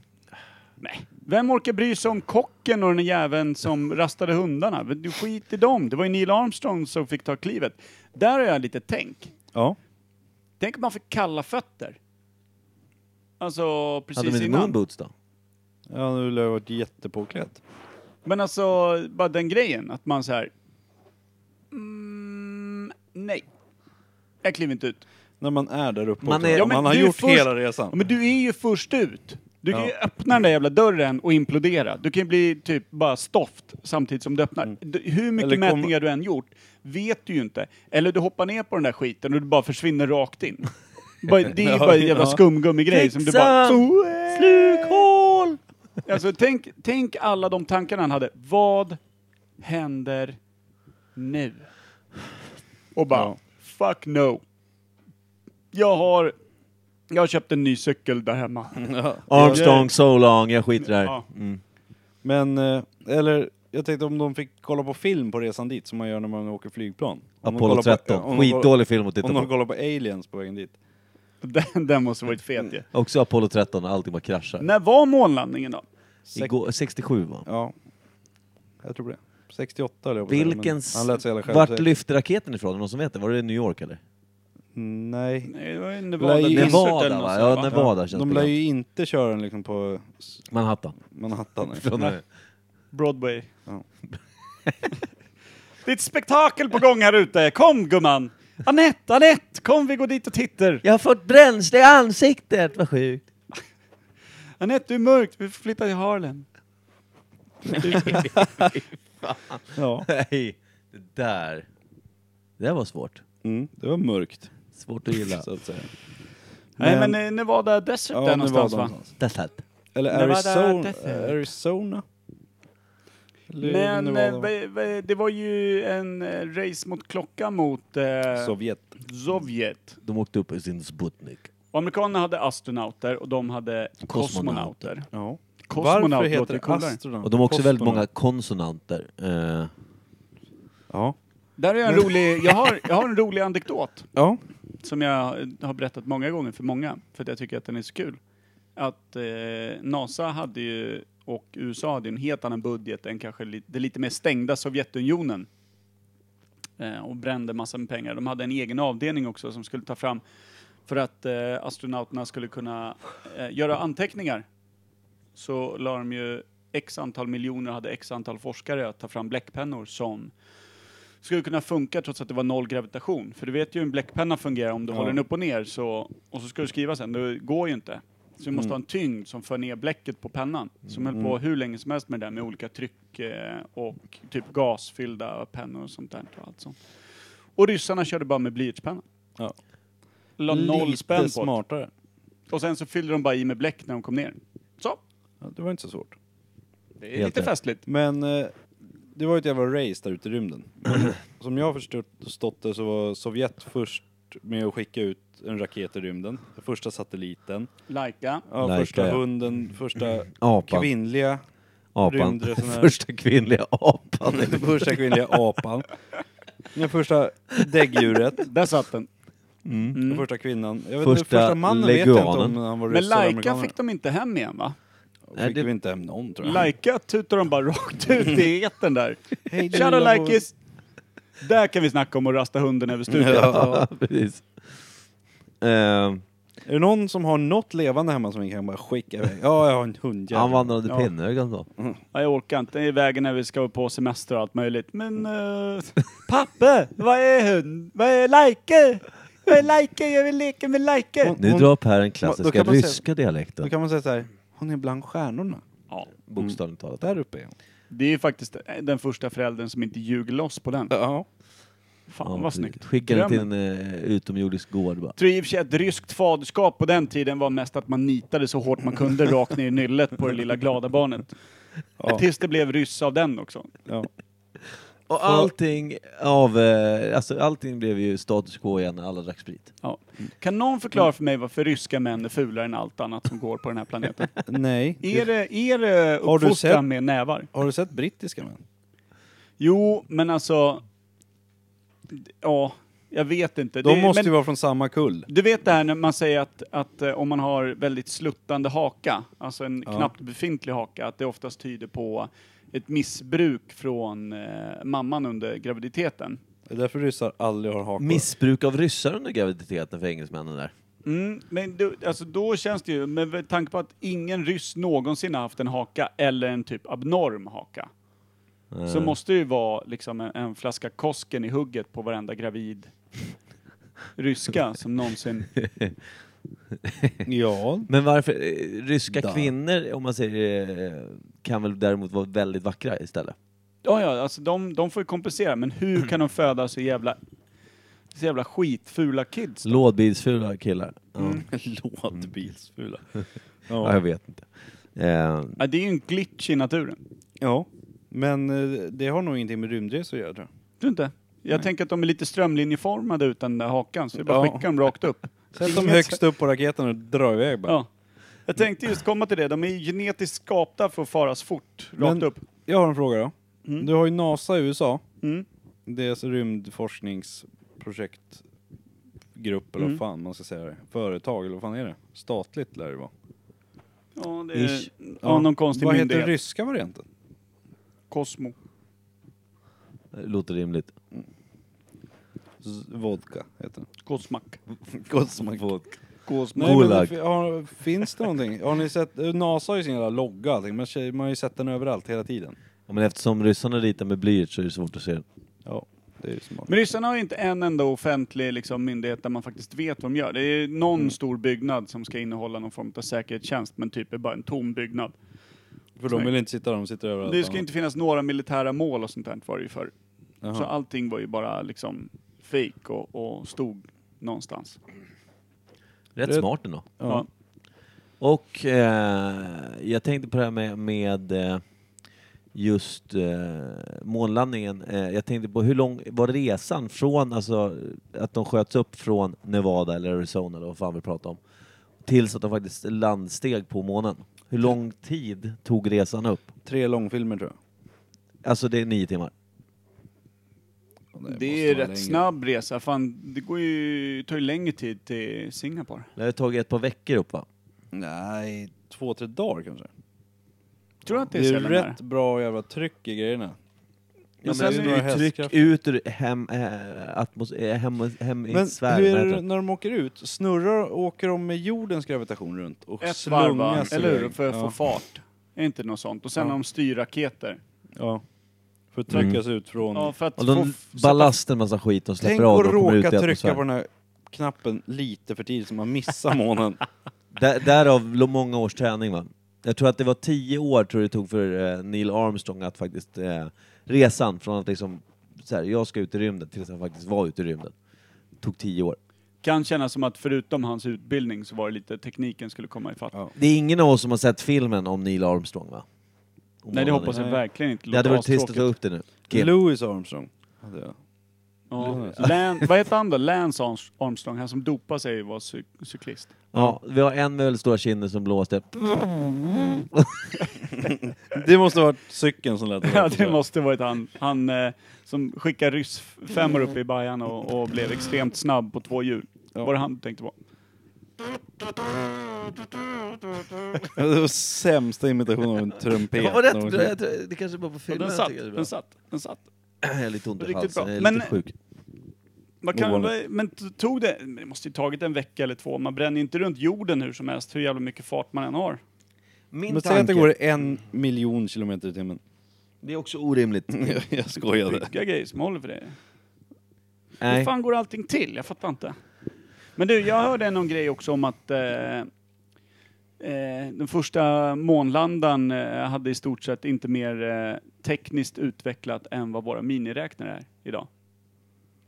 Nej. Vem orkar bry sig om kocken och den jäveln som rastade hundarna? Men Du skit i dem. Det var ju Neil Armstrong som fick ta klivet. Där har jag lite tänk. Ja. Tänk om man fick kalla fötter. Alltså Hade de precis inte innan. moonboots då? Ja, nu har jag varit jättepåklädd. Men alltså, bara den grejen, att man så här. Mm, nej. Jag kliver inte ut. När man är där uppe Man också. är- Ja, men Eh, man har du är gjort först- hela resan. Ja, Men du är ju först ut. Du kan ju öppna den där jävla dörren och implodera. Du kan ju bli typ bara stoft samtidigt som du öppnar. Du- Hur mycket Mm. Eller kom- mätningar du än gjort vet du ju inte. Eller du hoppar ner på den där skiten och du bara försvinner [LAUGHS] rakt in. Bara- Det är ju bara en jävla Ja. skumgummigrej som du bara... Slukhål! Alltså tänk, tänk alla de tankarna han hade. Vad händer nu? Och bara, Ja. fuck no. Jag har, jag har köpt en ny cykel [LAUGHS] där hemma. Armstrong so long, jag skiter där. Ja. Mm. Men, eh, eller jag tänkte om de fick kolla på film på resan dit som man gör när man åker flygplan. Om de kollar Apollo typ på- 13, om de kollar- skitdålig film att titta Om de på. kollar på aliens på vägen dit. Den, den måste varit fet ju. Också Apollo 13, allting bara kraschar. När var månlandningen då? Sex- Igår, 67 va? Ja. Jag tror det. 68 eller jag på att säga, men Vilken... s- Han lät så jävla själv. Vart lyfte raketen ifrån? Är det någon som vet det? Var det New York eller? Nej. Nej, det var ju Nevada. Nevada, Desert va? eller något sånt, Ja, Nevada känns De bekant. lär ju inte köra den liksom på s- Manhattan. Manhattan. [LAUGHS] nej. Från [LAUGHS] Nej. Broadway. Ja. [LAUGHS] Det är ett spektakel på gång här ute. Kom gumman! Anette, Anette, kom vi går dit och tittar. Jag har fått bränsle i ansiktet, vad sjukt! Anette, du är mörkt. Vi får flytta till Harlem. ja. Nej, det där. Det där var svårt. Mm, det var mörkt. Svårt att gilla. Så att säga. Nej, men Men- eh, Nevada Desert Ja, där nu var någonstans de va? någonstans. Det satt. Eller Nevada Arizona. Desert. Arizona. Eller Men Nevada, eh, va- va- det var ju en eh, race mot klocka mot eh, Sovjet. Sovjet. De åkte upp i sin Sputnik. Och amerikanerna hade astronauter och de hade Kosmonauter. kosmonauter. Ja. Kosmonaut Varför låter heter det coolare. astronaut? Och de har också väldigt många Kosmonaut. konsonanter. Eh, Ja. Där är jag en rolig, jag har, jag har en rolig anekdot Ja. som jag eh, har berättat många gånger för många, för att jag tycker att den är så kul. Att eh, NASA hade ju, och USA hade ju en helt annan budget än kanske li, det lite mer stängda Sovjetunionen. Eh, och brände massor med pengar. De hade en egen avdelning också som skulle ta fram för att eh, astronauterna skulle kunna eh, göra anteckningar. Så la de ju x antal miljoner och hade x antal forskare att ta fram bläckpennor som skulle kunna funka trots att det var noll gravitation. För du vet ju hur en bläckpenna fungerar om du Ja. håller den upp och ner så, och så ska du skriva sen, det går ju inte. Så du Mm. måste ha en tyngd som för ner bläcket på pennan. Som höll på hur länge som helst med det där med olika tryck eh, och typ gasfyllda pennor och sånt där. Och, allt sånt. och ryssarna körde bara med blyertspenna. Ja. La noll Lite spänn på det. smartare. Och sen så fyllde de bara i med bläck när de kom ner. Så, Ja, det var inte så svårt. det är Helt lite rätt. festligt. Men eh, det var ju ett jävla race där ute i rymden. Som jag har förstått det så var Sovjet först med att skicka ut en raket i rymden. Den första satelliten. Laika. Ja, Laika, första ja. hunden, första [CLEARS THROAT] Apan. kvinnliga [LAUGHS] apan. [LAUGHS] rymdresenär. Första kvinnliga apan. Den första kvinnliga apan. Den första däggdjuret. Där satt den. Den första kvinnan. Jag vet, Första första, första mannen vet jag inte om leguanen. han var Men ryss eller Laika amerikaner. fick de inte hem igen va? Nej, Fick det- vi inte hem någon tror jag. Laika tutar de bara rakt [LAUGHS] ut i etern där. Hej, du Tjena lilla Laikis! Där kan vi snacka om att rasta hunden över [LAUGHS] stupet. ja, precis. Eh, Är det någon som har något levande hemma som vi kan bara skicka iväg? Ja, jag har en hund. han vandrade Ja. pinnögon då. Ja, jag orkar inte, det är vägen när vi ska på semester och allt möjligt. Men... eh, pappa! Vad är hund? Vad är Laika? Vad är Laika? Jag vill leka med Laika! Nu drar Per den klassiska kan man säga- ryska dialekten. Då kan man säga så här. Hon är bland stjärnorna. Ja, Bokstavligt talat. Där uppe är hon. det är ju faktiskt den första föräldern som inte ljuger loss på den. Ja. Fan Ja, vad precis. snyggt. Skickade den till Drömmen. en eh, utomjordisk gård bara. tror i och för sig att ryskt faderskap på den tiden var mest att man nitade så hårt [LAUGHS] man kunde rakt ner i nyllet på det lilla glada barnet. Tills det blev ryss av den också. ja. Och allting av, eh, alltså allting blev ju status quo igen när alla drack sprit. Ja. Kan någon Mm. förklara för mig varför ryska män är fulare än allt annat som går på den [LAUGHS] här planeten? Nej. Är det, är det Har du sett- uppfostran med nävar? Har du sett brittiska män? Jo, men alltså... Ja, jag vet inte. De Det- måste men- ju vara från samma kull. Du vet det här när man säger att, att eh, om man har väldigt sluttande haka, alltså en knappt befintlig haka, att det oftast tyder på ett missbruk från eh, mamman under graviditeten. Det är därför ryssar aldrig har hakor. Missbruk av ryssar under graviditeten för engelsmännen där. Mm, men du, alltså då känns det ju, med tanke på att ingen ryss någonsin har haft en haka eller en typ abnorm haka, så Mm. måste det ju vara liksom en, en flaska Kosken i hugget på varenda gravid ryska som någonsin... Ja. Men varför, eh, ryska Da. kvinnor, om man säger eh, kan väl däremot vara väldigt vackra istället? Ja, ja, alltså de, de får ju kompensera, men hur kan de föda så jävla, så jävla skitfula kids? Lådbilsfula killar. Ja. [LAUGHS] [LAUGHS] Lådbilsfula. Ja, Mm. Ja. jag vet inte. Eh, Ja, det är ju en glitch i naturen. ja. Men eh, det har nog ingenting med rymdresor att göra tror jag. Du inte? Jag tänker att de är lite strömlinjeformade utan den där hakan, så det är bara att Ja. skicka dem [LAUGHS] rakt upp. Sätt dem högst upp på raketen och dra iväg bara. Ja. Jag tänkte just komma till det, de är ju genetiskt skapta för att faras fort, rakt Men upp. Jag har en fråga då. Mm. Du har ju NASA i USA. Mm. Deras rymdforskningsprojektgrupp eller Mm. vad fan man ska säga det. Företag eller vad fan är det? Statligt lär det vara. Ja, det är, Ish. ja, någon konstig Vad myndighet. heter ryska varianten? Kosmo. låter rimligt. Z- vodka heter den. Kosmak. Kosmak. Kosmak. Nej, men Gulag. f- har, finns det någonting? Har ni sett? NASA har ju sin jävla logga och allting, men tje- man har ju sett den överallt hela tiden. Ja, men eftersom ryssarna ritar med blyert så är det svårt att se den. Ja, det är ju smart. Men ryssarna har ju inte en enda offentlig liksom, myndighet där man faktiskt vet vad de gör. Det är någon Mm. stor byggnad som ska innehålla någon form av säkerhetstjänst, men typ är bara en tom byggnad. För de vill inte sitta där, de sitter överallt. Det ska inte finnas några militära mål och sånt där var det ju förr. Så allting var ju bara liksom fake och, och stod någonstans. Rätt Det- smart ändå. Ja. Och eh, jag tänkte på det här med, med eh, just eh, månlandningen. Eh, jag tänkte på hur lång var resan från, alltså att de sköts upp från Nevada eller Arizona eller vad fan vi pratar om, tills att de faktiskt landsteg på månen. Hur lång tid tog resan upp? Tre långfilmer tror jag. Alltså det är nio timmar. Och Det, måste är vara rätt längre. snabb resa. Fan, det går ju, tar ju längre tid till Singapore. Det har tagit ett par veckor upp va? Nej, två, tre dagar kanske. Tror du att det Det är, är sällan där? rätt bra jävla tryck i grejerna. Ja, Men men sen det är är det ju tryck hästkrafter. ut ur hem, äh, atmos- eh, hem, hem i Men Sverige. hur vad är heter det det? när de åker ut? Snurrar, åker de med jordens gravitation runt? Och Ett varv, va? slungas eller hur? iväg? För att ja. få fart. Är inte något sånt. Och sen Ja. har de styrraketer. Ja. För att tryckas ut från... Ja, för att Och få de f- sätta ballasten massa skit de Mm. släpper Tänk av att och kommer ut i råka trycka atmosfären. på den här knappen lite för tidigt så [LAUGHS] man missar månen. Där, därav lo- många års träning va? Jag tror att det var tio år tror jag det tog för eh, Neil Armstrong att faktiskt eh, resan från att liksom så här, jag ska ut i rymden tills han faktiskt var ute i rymden. Tog tio år. kan kännas som att förutom hans utbildning så var det lite tekniken skulle komma ifatt. Ja. Det är ingen av oss som har sett filmen om Neil Armstrong va? Om Nej det han- hoppas jag Nej. verkligen inte. Det hade låter varit trist att ta astråkigt. upp det nu. Kim. Louis Armstrong. Alltså, hade jag. [LAUGHS] Ja. Lan- vad heter han då? Lance Arms- Armstrong, han som dopade sig var cy- cyklist. [LAUGHS] Ja, vi har en med väldigt stora kinder som blåste. Det måste ha varit cykeln som lät [LAUGHS] Ja det måste varit han. Han eh, som skickade ryssfemmor upp i Bajan och, och blev extremt snabb på två hjul. Var det han du tänkte på? Det var sämsta imitationen [LAUGHS] av en trumpet. Det var rätt någonsin. bra. Jag tror- Det kanske bara på Och filmen. den jag satt, tycker det är bra. den satt, den satt. Jag har lite ont i Riktigt halsen, bra. jag är Men- lite sjuk. Man kan, Ovanligt. men t- tog det, men det måste ju tagit en vecka eller två. Man bränner ju inte runt jorden hur som helst, hur jävla mycket fart man än har. Min Men säg att tanke, det går en miljon kilometer i timmen. det är också orimligt. [LAUGHS] [LAUGHS] jag skojade. Bygga grejer som håller för det. Hur Nej. fan går allting till? Jag fattar inte. Men du, jag hörde någon grej också om att eh, eh, den första månlandaren eh, hade i stort sett inte mer eh, tekniskt utvecklat än vad våra miniräknare är idag.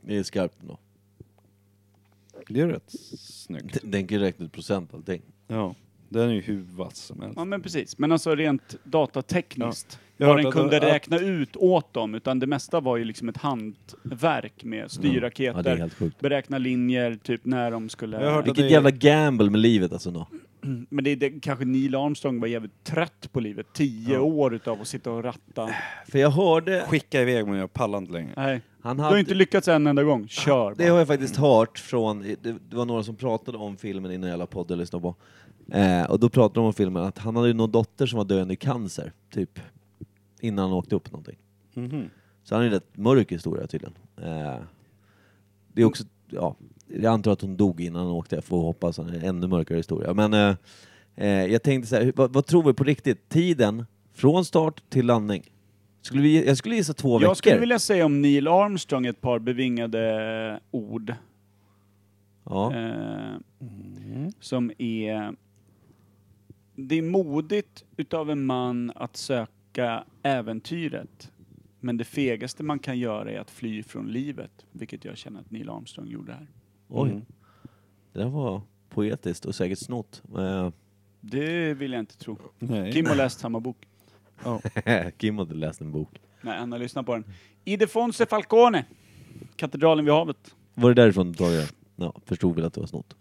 Det är skarpt ändå. Det är rätt snyggt. Den kan ju räkna ut procent allting. Ja. Den är ju hur vass som helst. Ja men precis, men alltså rent datatekniskt. Jag vad har den hört kunde att- att- räkna ut åt dem, utan det mesta var ju liksom ett hantverk med Ja, det är styrraketer, helt sjukt. beräkna linjer, typ när de skulle... Jag har hört att- Vilket jävla gamble med livet alltså. Då. Men det, det kanske Neil Armstrong var jävligt trött på livet. Tio år utav att sitta och ratta. För jag hörde... Skicka iväg mig, jag pallar inte längre. Nej. Han Du hade... har inte lyckats en enda gång. Kör Det bara. har jag faktiskt hört från, det, det var några som pratade om filmen innan jag la podd och lyssnade på. Eh, och då pratade de om filmen att han hade ju någon dotter som var döende i cancer, typ. Innan han åkte upp någonting. Mhm. Så han är en rätt mörk historia tydligen. Eh, det är också, ja, jag antar att hon dog innan hon åkte, jag får hoppas, en ännu mörkare historia. Men eh, eh, jag tänkte så här, hur- vad, vad tror vi på riktigt? Tiden från start till landning? Skulle vi, jag skulle gissa två veckor. Jag skulle vilja säga om Neil Armstrong ett par bevingade eh, ord. ja. Eh, Som är... Det är modigt utav en man att söka äventyret. Men det fegaste man kan göra är att fly från livet. Vilket jag känner att Neil Armstrong gjorde här. Oj. Mm. Det där var poetiskt och säkert snott. Eh, Det vill jag inte tro. Nej. Kim har läst samma bok. Eh, [LAUGHS] Kim hade läst en bok. Nej, han har lyssnat på den. Idefonse Falcone. Katedralen vid havet. Var det därifrån du tog det? Ja, förstod väl att det var snott.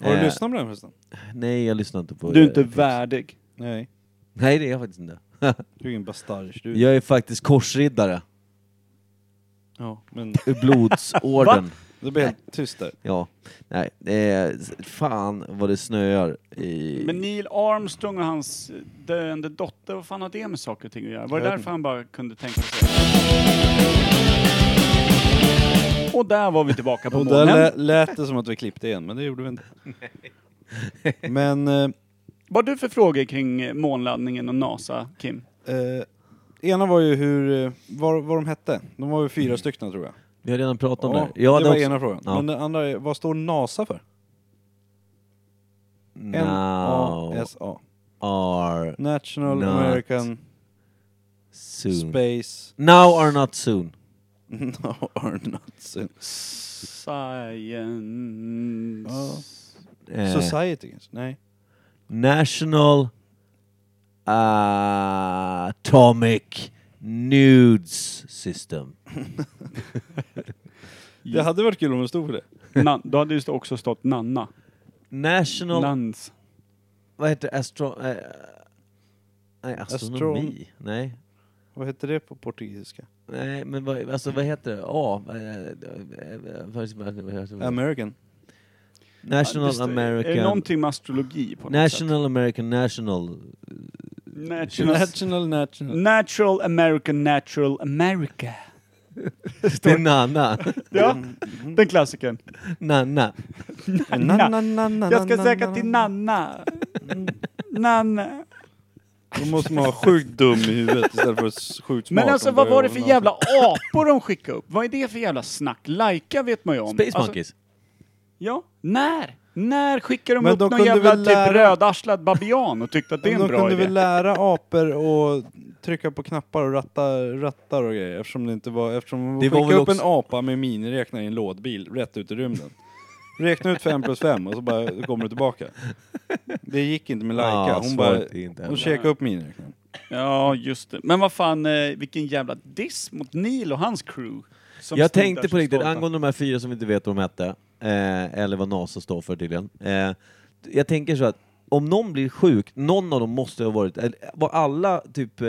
Har du Eh, lyssnat på den förresten? Nej, jag lyssnade inte på Du är inte eh, värdig. Nej. Nej, det är jag faktiskt inte. Du är ingen bastard. Du... Jag är faktiskt korsriddare. Ja. Men Ur [LAUGHS] blodsorden. det blir helt tyst där. ja. Nej, eh, s- fan vad det snöar i... Men Neil Armstrong och hans eh, döende dotter, vad fan har det med saker och ting att göra? Var det Jag vet därför han bara kunde tänka sig Och där var vi tillbaka [LAUGHS] på Och där månen. lä- lät det som att vi klippte igen, men det gjorde vi inte. [LAUGHS] Men eh, Vad har du för frågor kring månlandningen och NASA, Kim? eh, ena var ju hur, eh, vad, vad de hette. De var ju fyra stycken tror jag. Vi har redan pratat om Mm. Ja, det. Ja, det var också- ena frågan. Ja. Men den andra är, vad står NASA för? N-A-S-A. Are National Not American soon. [LAUGHS] Space Now are not soon. No or not soon. Science... Eh, Society kanske? Nej. National Atomic Nudes System. Det hade varit kul om det stod för det. Nan, då hade det också stått Nanna. National... Nans. vad heter det? Astro... Eh, nej, astronomi? Astron- Nej. Vad hette det på portugisiska? Nej, men vad, alltså, vad heter det? Ja... eh, eh, vad- vad- vad heter det? American. National Just det. Är det American... någonting med astrologi på något National American National... sätt? National, National, national. natural American Natural America. Mm. Det är [LAUGHS] Nanna. Ja, mm-hmm. den klassikern. Nanna. Mm. Na, na, na, na, Jag ska na, söka na, till na. Mm. Nanna. Nanna. Då måste man vara sjukt dum i huvudet istället för s- sjukt smart. Men alltså om vad bara var det gör för något. jävla apor de skickade upp? Vad är det för jävla snack? Laika vet man ju om. Space Alltså, Monkeys. Ja. När? När skickar de Men upp de någon kunde jävla väl lära- typ rödarslad babian och tyckte att det är Men en de bra kunde idé? väl lära apor och trycka på knappar och ratta, rattar och grejer eftersom det inte var... Eftersom Det det var skickade väl upp också- en apa med miniräknare i en lådbil rätt ut i rymden. Räkna ut fem plus fem och så bara kommer du tillbaka. Det gick inte med Laika. Ja, Hon bara... svaret är inte Hon heller. käkade upp miniräknaren. Ja, just det. Men vad fan, eh, vilken jävla diss mot Neil och hans crew. som Jag stod tänkte där på så riktigt, stolta. angående de här fyra som vi inte vet vad de hette, eh, eller vad NASA står för tydligen. Eh, jag tänker så att om någon blir sjuk, någon av dem måste ha varit, eller var alla typ eh,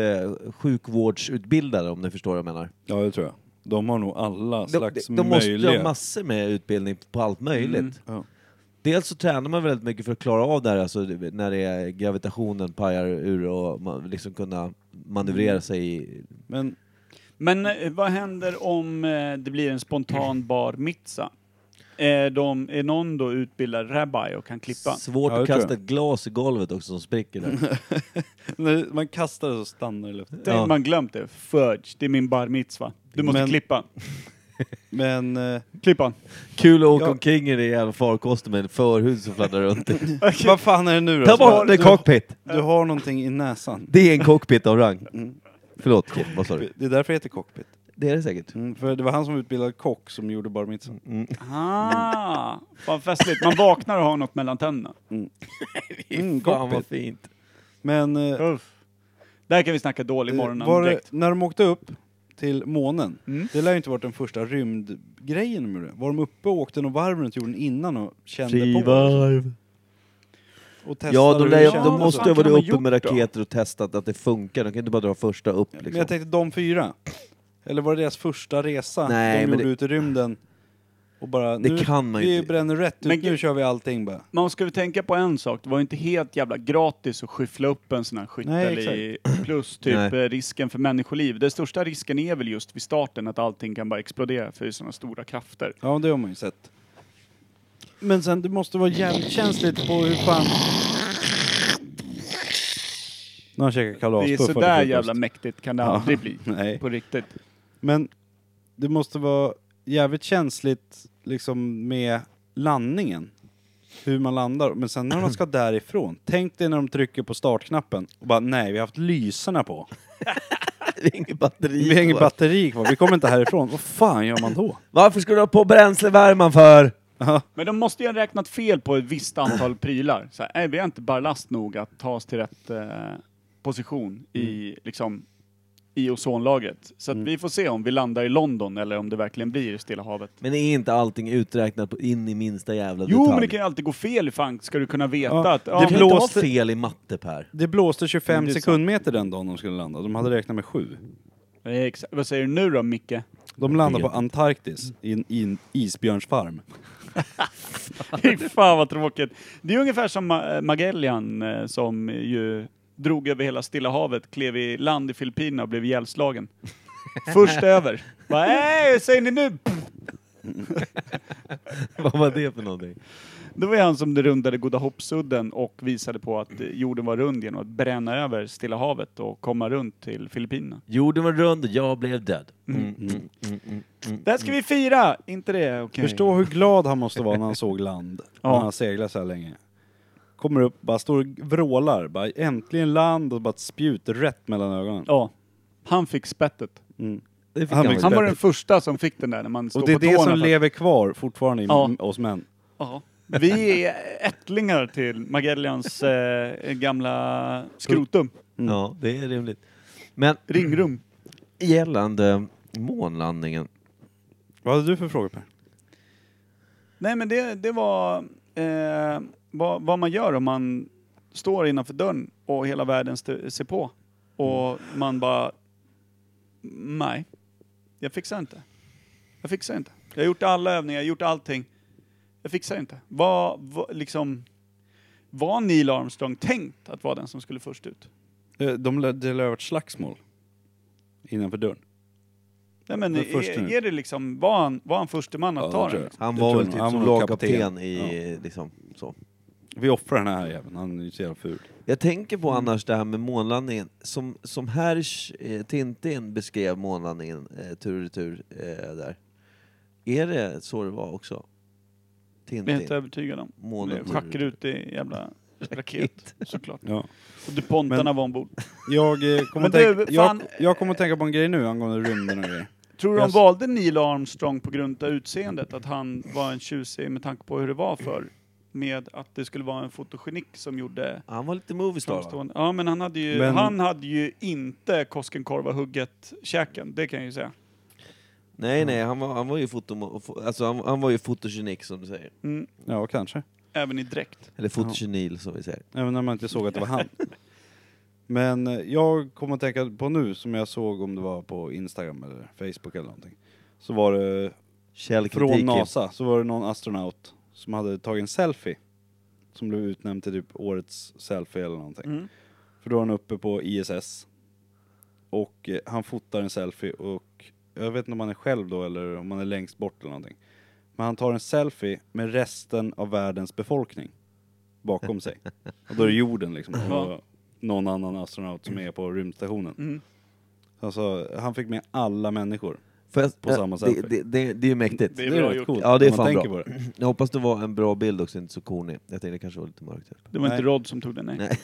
sjukvårdsutbildade om ni förstår vad jag menar? Ja, det tror jag. De har nog alla De, de, slags Mm. de måste ju ha möjliga... massor med utbildning på allt möjligt. ja. Dels så tränar man väldigt mycket för att klara av det här, alltså när det är gravitationen pajar ur och man liksom kunna Mm. manövrera sig i... Men Men eh, vad händer om eh, det blir en spontan bar mitza? Är, de, är någon då utbildad rabbi och kan klippa? Svårt Ja, det att tror kasta jag. ett glas i golvet också som spricker där. när man kastar det så stannar det i luften. Tänk man glömt det. Fudge, det är min bar mitzva. Du måste Men- klippa. Men... eh, Klippa. Kul att åka Ja. omkring i det jävla farkosten med en förhud som fladdrar [LAUGHS] runt. Vad fan är det nu då? Ta bort Du- det, cockpit! Du har någonting i näsan. Det är en cockpit av rang. Förlåt, Kim, vad sa du? Det är därför det heter cockpit. Det är det säkert. Mm, för det var han som utbildade kock som gjorde bar mitzvah. Mm. [LAUGHS] Ah, fan festligt. Man vaknar och har något mellan tänderna. Fan Mm, vad cockpit. fint. Men eh, Där kan vi snacka dålig Var morgon det, direkt. när de åkte upp till månen, Mm. det lär ju inte varit den första rymdgrejen de gjorde. Var de uppe och åkte någon varv runt jorden innan och kände på? Och testade Ja, de, hur lär, det ju- ju- kändes de vad och måste så. fan ha kan varit de ha uppe gjort med då? raketer och testat att det funkar. De kan inte bara dra första upp liksom. Men jag tänkte de fyra. Eller var det deras första resa Nej, de men gjorde det- ut i rymden? Och bara, Det nu, kan man ju vi inte. bränner rätt ut, Men- nu kör vi allting bara. Man ska väl tänka på en sak, det var ju inte helt jävla gratis att skyffla upp en sån här skyttel Nej, i plus typ Nej. eh, risken för människoliv. Den största risken är väl just vid starten att allting kan bara explodera för det är sådana stora krafter. Ja, det har man ju sett. Men sen, det måste vara jävligt känsligt på hur fan... Nu har han käkat Det är kalaspuffar till sådär frukost. jävla mäktigt kan det Ja. aldrig bli. Nej. På riktigt. Men det måste vara jävligt känsligt liksom med landningen. Hur man landar. Men sen när man [CLEARS THROAT] ska därifrån. Tänk dig när de trycker på startknappen och bara nej, vi har haft lyserna på. Det är inget batteri Vi har inget kvar. batteri kvar, vi kommer inte [LAUGHS] härifrån. Vad fan gör man då? Varför ska du ha på bränslevärman för? Men de måste ju ha räknat fel på ett [CLEARS THROAT] visst antal prylar. Så här, nej, vi har inte ballast nog att ta oss till rätt eh, position i, Mm. liksom, i ozonlagret. Så att vi får se om vi landar i London eller om det verkligen blir i Stilla havet. Men är inte allting uträknat på in i minsta jävla Jo, detalj? men det kan ju alltid gå fel. Fan, ska du kunna veta Ja, att... Du Ja, kan men, inte ha blåste- fel i matte Per. [LAUGHS] Det blåste Men 25 det är sant. sekundmeter den dagen de skulle landa. De hade räknat med sju. Eh, exa- vad säger du nu då, Micke? [LAUGHS] De landade på Antarktis i en, i en isbjörnsfarm. Fy fan vad tråkigt. Det är ungefär som Ma- Magellan eh, som ju drog över hela Stilla havet, klev i land i Filippinerna och [LAUGHS] blev ihjälslagen. Först över. Bara, "Hej, hur säger ni nu? Vad var det för någonting? Det var ju han som rundade Goda hoppsudden och visade på att eh, jorden var rund genom att bränna över Stilla havet och komma runt till Filippinerna. Jorden var rund och jag blev död. Mm, mm, mm, mm, mm. Där ska vi fira! Inte det? Okej. Förstå hur glad han måste vara när han såg land. Ja. När han seglat så här länge. Kommer upp, bara står och vrålar. Bara, äntligen land och bara ett spjut rätt mellan ögonen. Ja. Han fick spettet. Mm. Det fick Han han väl. fick- Han var den första som fick den där när man står Och det är på det tårna. som för att- lever kvar fortfarande i Ja. m- oss män. Ja. Vi är ättlingar till Magellans eh, gamla skrotum, Mm. Ja, det är rimligt. Men ringrum. [CLEARS THROAT] gällande månlandningen. Vad hade du för frågor Per? Nej men det, det var eh, vad, vad man gör om man står innanför dörren och hela världen st- ser på. Och man bara, nej, jag fixar inte. Jag fixar inte. Jag har gjort alla övningar, jag har gjort allting. Jag fixar inte. Vad, vad liksom, var Neil Armstrong tänkt att vara den som skulle först ut? Eh, De lär- det lär ha varit slagsmål. Innanför dörren. Nej men Men först är, nu. är det liksom, var han, var han förste man att Ja, ta det tror den? jag. liksom? Han Det var tror väl jag. typ Han som var väl lagkapten kapten. i liksom så. Vi offrar den här jäveln, han är ju så jävla ful. Jag tänker på annars det här med månlandningen. Som, som Hersch, eh, Tintin beskrev månlandningen eh, tur och retur eh, där. Är det så det var också? Det är jag inte Tintin, övertygad om. månen tur och Schacker retur. ut [LAUGHS] i jävla raket, såklart. Ja. Och DuPontarna var ombord. Jag, eh, kommer Men att tänka, du, fan- jag, jag kommer att tänka på en grej nu angående rymden och [LAUGHS] grejer. Tror du de Yes. valde Neil Armstrong på grund av utseendet? Att han var en tjusig med tanke på hur det var för Med att det skulle vara en fotogenik som gjorde Han var lite moviestar va? framstående... Ja men han hade ju, Men- han hade ju inte Koskenkorva-hugget-käken, det kan jag ju säga. Nej nej, han var, han var ju foto, fo- alltså han, han var ju fotogenik som du säger. Mm, Ja, kanske. även i dräkt. Eller fotogenil som vi säger. Även när man inte såg att det var han. Men eh, jag kommer att tänka på nu, som jag såg om det var på Instagram eller Facebook eller någonting. Så var det från Källkritik. NASA, så var det någon astronaut som hade tagit en selfie. Som blev utnämnd till typ årets selfie eller någonting. Mm. För då var han uppe på ISS. Och eh, han fotar en selfie och jag vet inte om han är själv då eller om han är längst bort eller någonting. Men han tar en selfie med resten av världens befolkning bakom sig. Och då är det jorden liksom [LAUGHS] Ja. och någon annan astronaut som är på rymdstationen. Mm. Alltså, han fick med alla människor. Får jag- eh, På samma det, selfie. det, det, det är ju mäktigt. Det är bra rätt gjort. coolt Ja, det är om fan man tänker bra. På det. Jag hoppas det var en bra bild också, inte så corny. Jag tänkte det kanske var lite mörkt. här. Det var Nej. inte Rod som tog den, nej.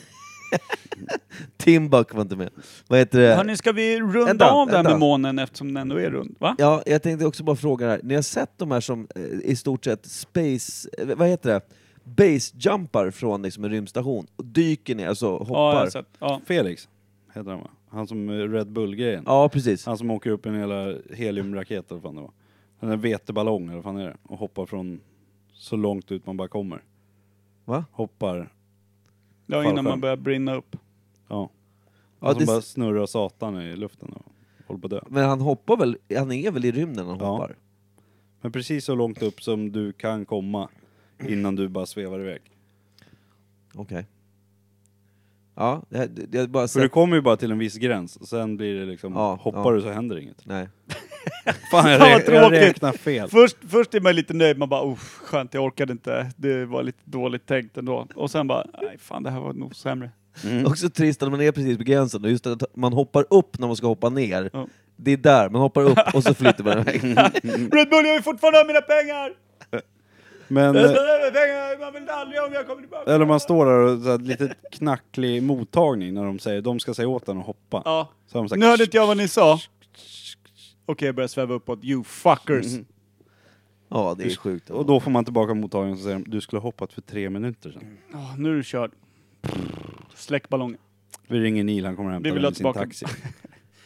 Tim Buck var inte med. Vad heter det? Hörni, ska vi runda Vänta, av det här vänta. med månen eftersom den ändå är rund? Va? Ja, jag tänkte också bara fråga det här. Ni har sett de här som eh, i stort sett space... eh, Vad heter det? Basejumpar från liksom en rymdstation och dyker ner, alltså Ja, jag har hoppar. sett. Ja. Felix heter han va? Han som eh, Red Bull-grejen. Ja, precis. Han som åker upp en hela heliumraket eller vad fan det var. En där veteballong eller vad fan är det? Och hoppar från så långt ut man bara kommer. Va? Hoppar. Ja, innan Fallskärm. man börjar brinna upp. Ja. Ja, Han som det- bara snurrar satan i luften och håller på att dö. Men han hoppar väl, han är väl i rymden när han Ja. hoppar? Men precis så långt upp som du kan komma innan du bara svävar iväg. Okej. Ja, det, här- det, jag bara För du sett... kommer ju bara till en viss gräns, och sen blir det liksom, Ja, ja. hoppar du så [LAUGHS] händer inget. Nej. Fan jag, Fan, vad rä- jag tråkigt. räknar fel. Först, först är man lite nöjd, man bara oh, skönt jag orkade inte, det var lite dåligt tänkt ändå. Och sen bara, nej fan det här var nog sämre. Också trist att man är precis vid gränsen, och just att man hoppar upp när man ska hoppa ner. Ja. Det är där, man hoppar upp och så flyter [LAUGHS] man iväg. Red Bull, jag vill fortfarande ha mina pengar! Men, Jag eh, ska ha mina pengar, man vet aldrig om jag kommer tillbaka. eller man står där och så här, lite knacklig mottagning när de säger, de ska säga åt en att hoppa. Ja. Så har de sagt, Nu hörde inte jag vad ni sa. Okej, jag börjar sväva uppåt. You fuckers! Mhm. Ja, det är sjukt. Och då får man tillbaka mottagningen och säger, de, du skulle ha hoppat för tre minuter sedan. Åh, nu är du körd. Släck ballongen. Vi ringer Neil, han kommer och Vi hämtar vill den ha i sin tillbaka- taxi.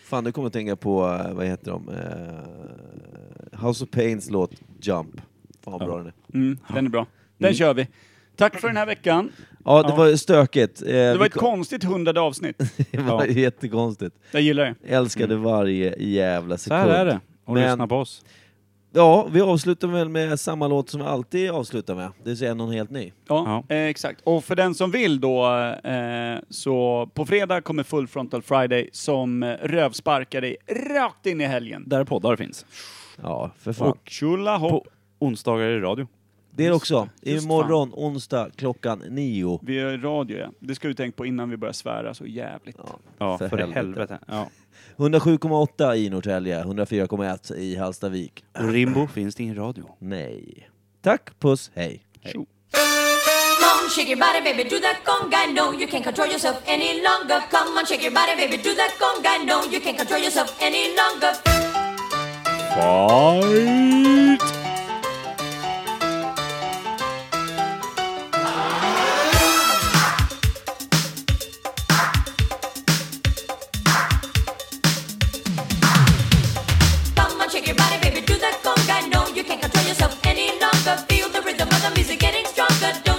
Fan, du kommer att tänka på, eh, vad heter de? Eh, House of Pains låt Jump. Fan vad bra den är. Mm, den är bra. Den kör vi. Tack för den här veckan. Ja, det Ja. var stökigt. Eh, Det var vi ett kom- konstigt [LAUGHS] hundrade avsnitt. det var Ja. Mm. jättekonstigt. Jag gillar det. Älskade varje jävla Så sekund. här är det, och Men- lyssna på oss. Ja, vi avslutar väl med samma låt som vi alltid avslutar med. Det vill säga någon helt ny. Ja, Eh, exakt. Och för den som vill då, eh, så på fredag kommer Full Frontal Friday som eh, rövsparkar dig rakt in i helgen. Där poddar finns. Ja, för fan. Och tjolahopp! På onsdagar i radio. det är också. just Imorgon onsdag klockan nio. Vi är radio ja. Det ska vi tänka på innan vi börjar svära så jävligt. Ja, Ja, För för, helvete. helvete. Ja. 107,8 i Norrtälje, 104,1 i Hallstavik. Och Rimbo finns det ingen radio. Nej. Tack, puss, hej. Tjo. Come on, shake your body, baby, do that conga. No, you can't control yourself any longer. Come on, shake your body, baby, do that conga. No, you can't control yourself any longer. Come on, shake your body, baby, do that conga. No, you can't control yourself any longer. Feel the rhythm of the music getting stronger.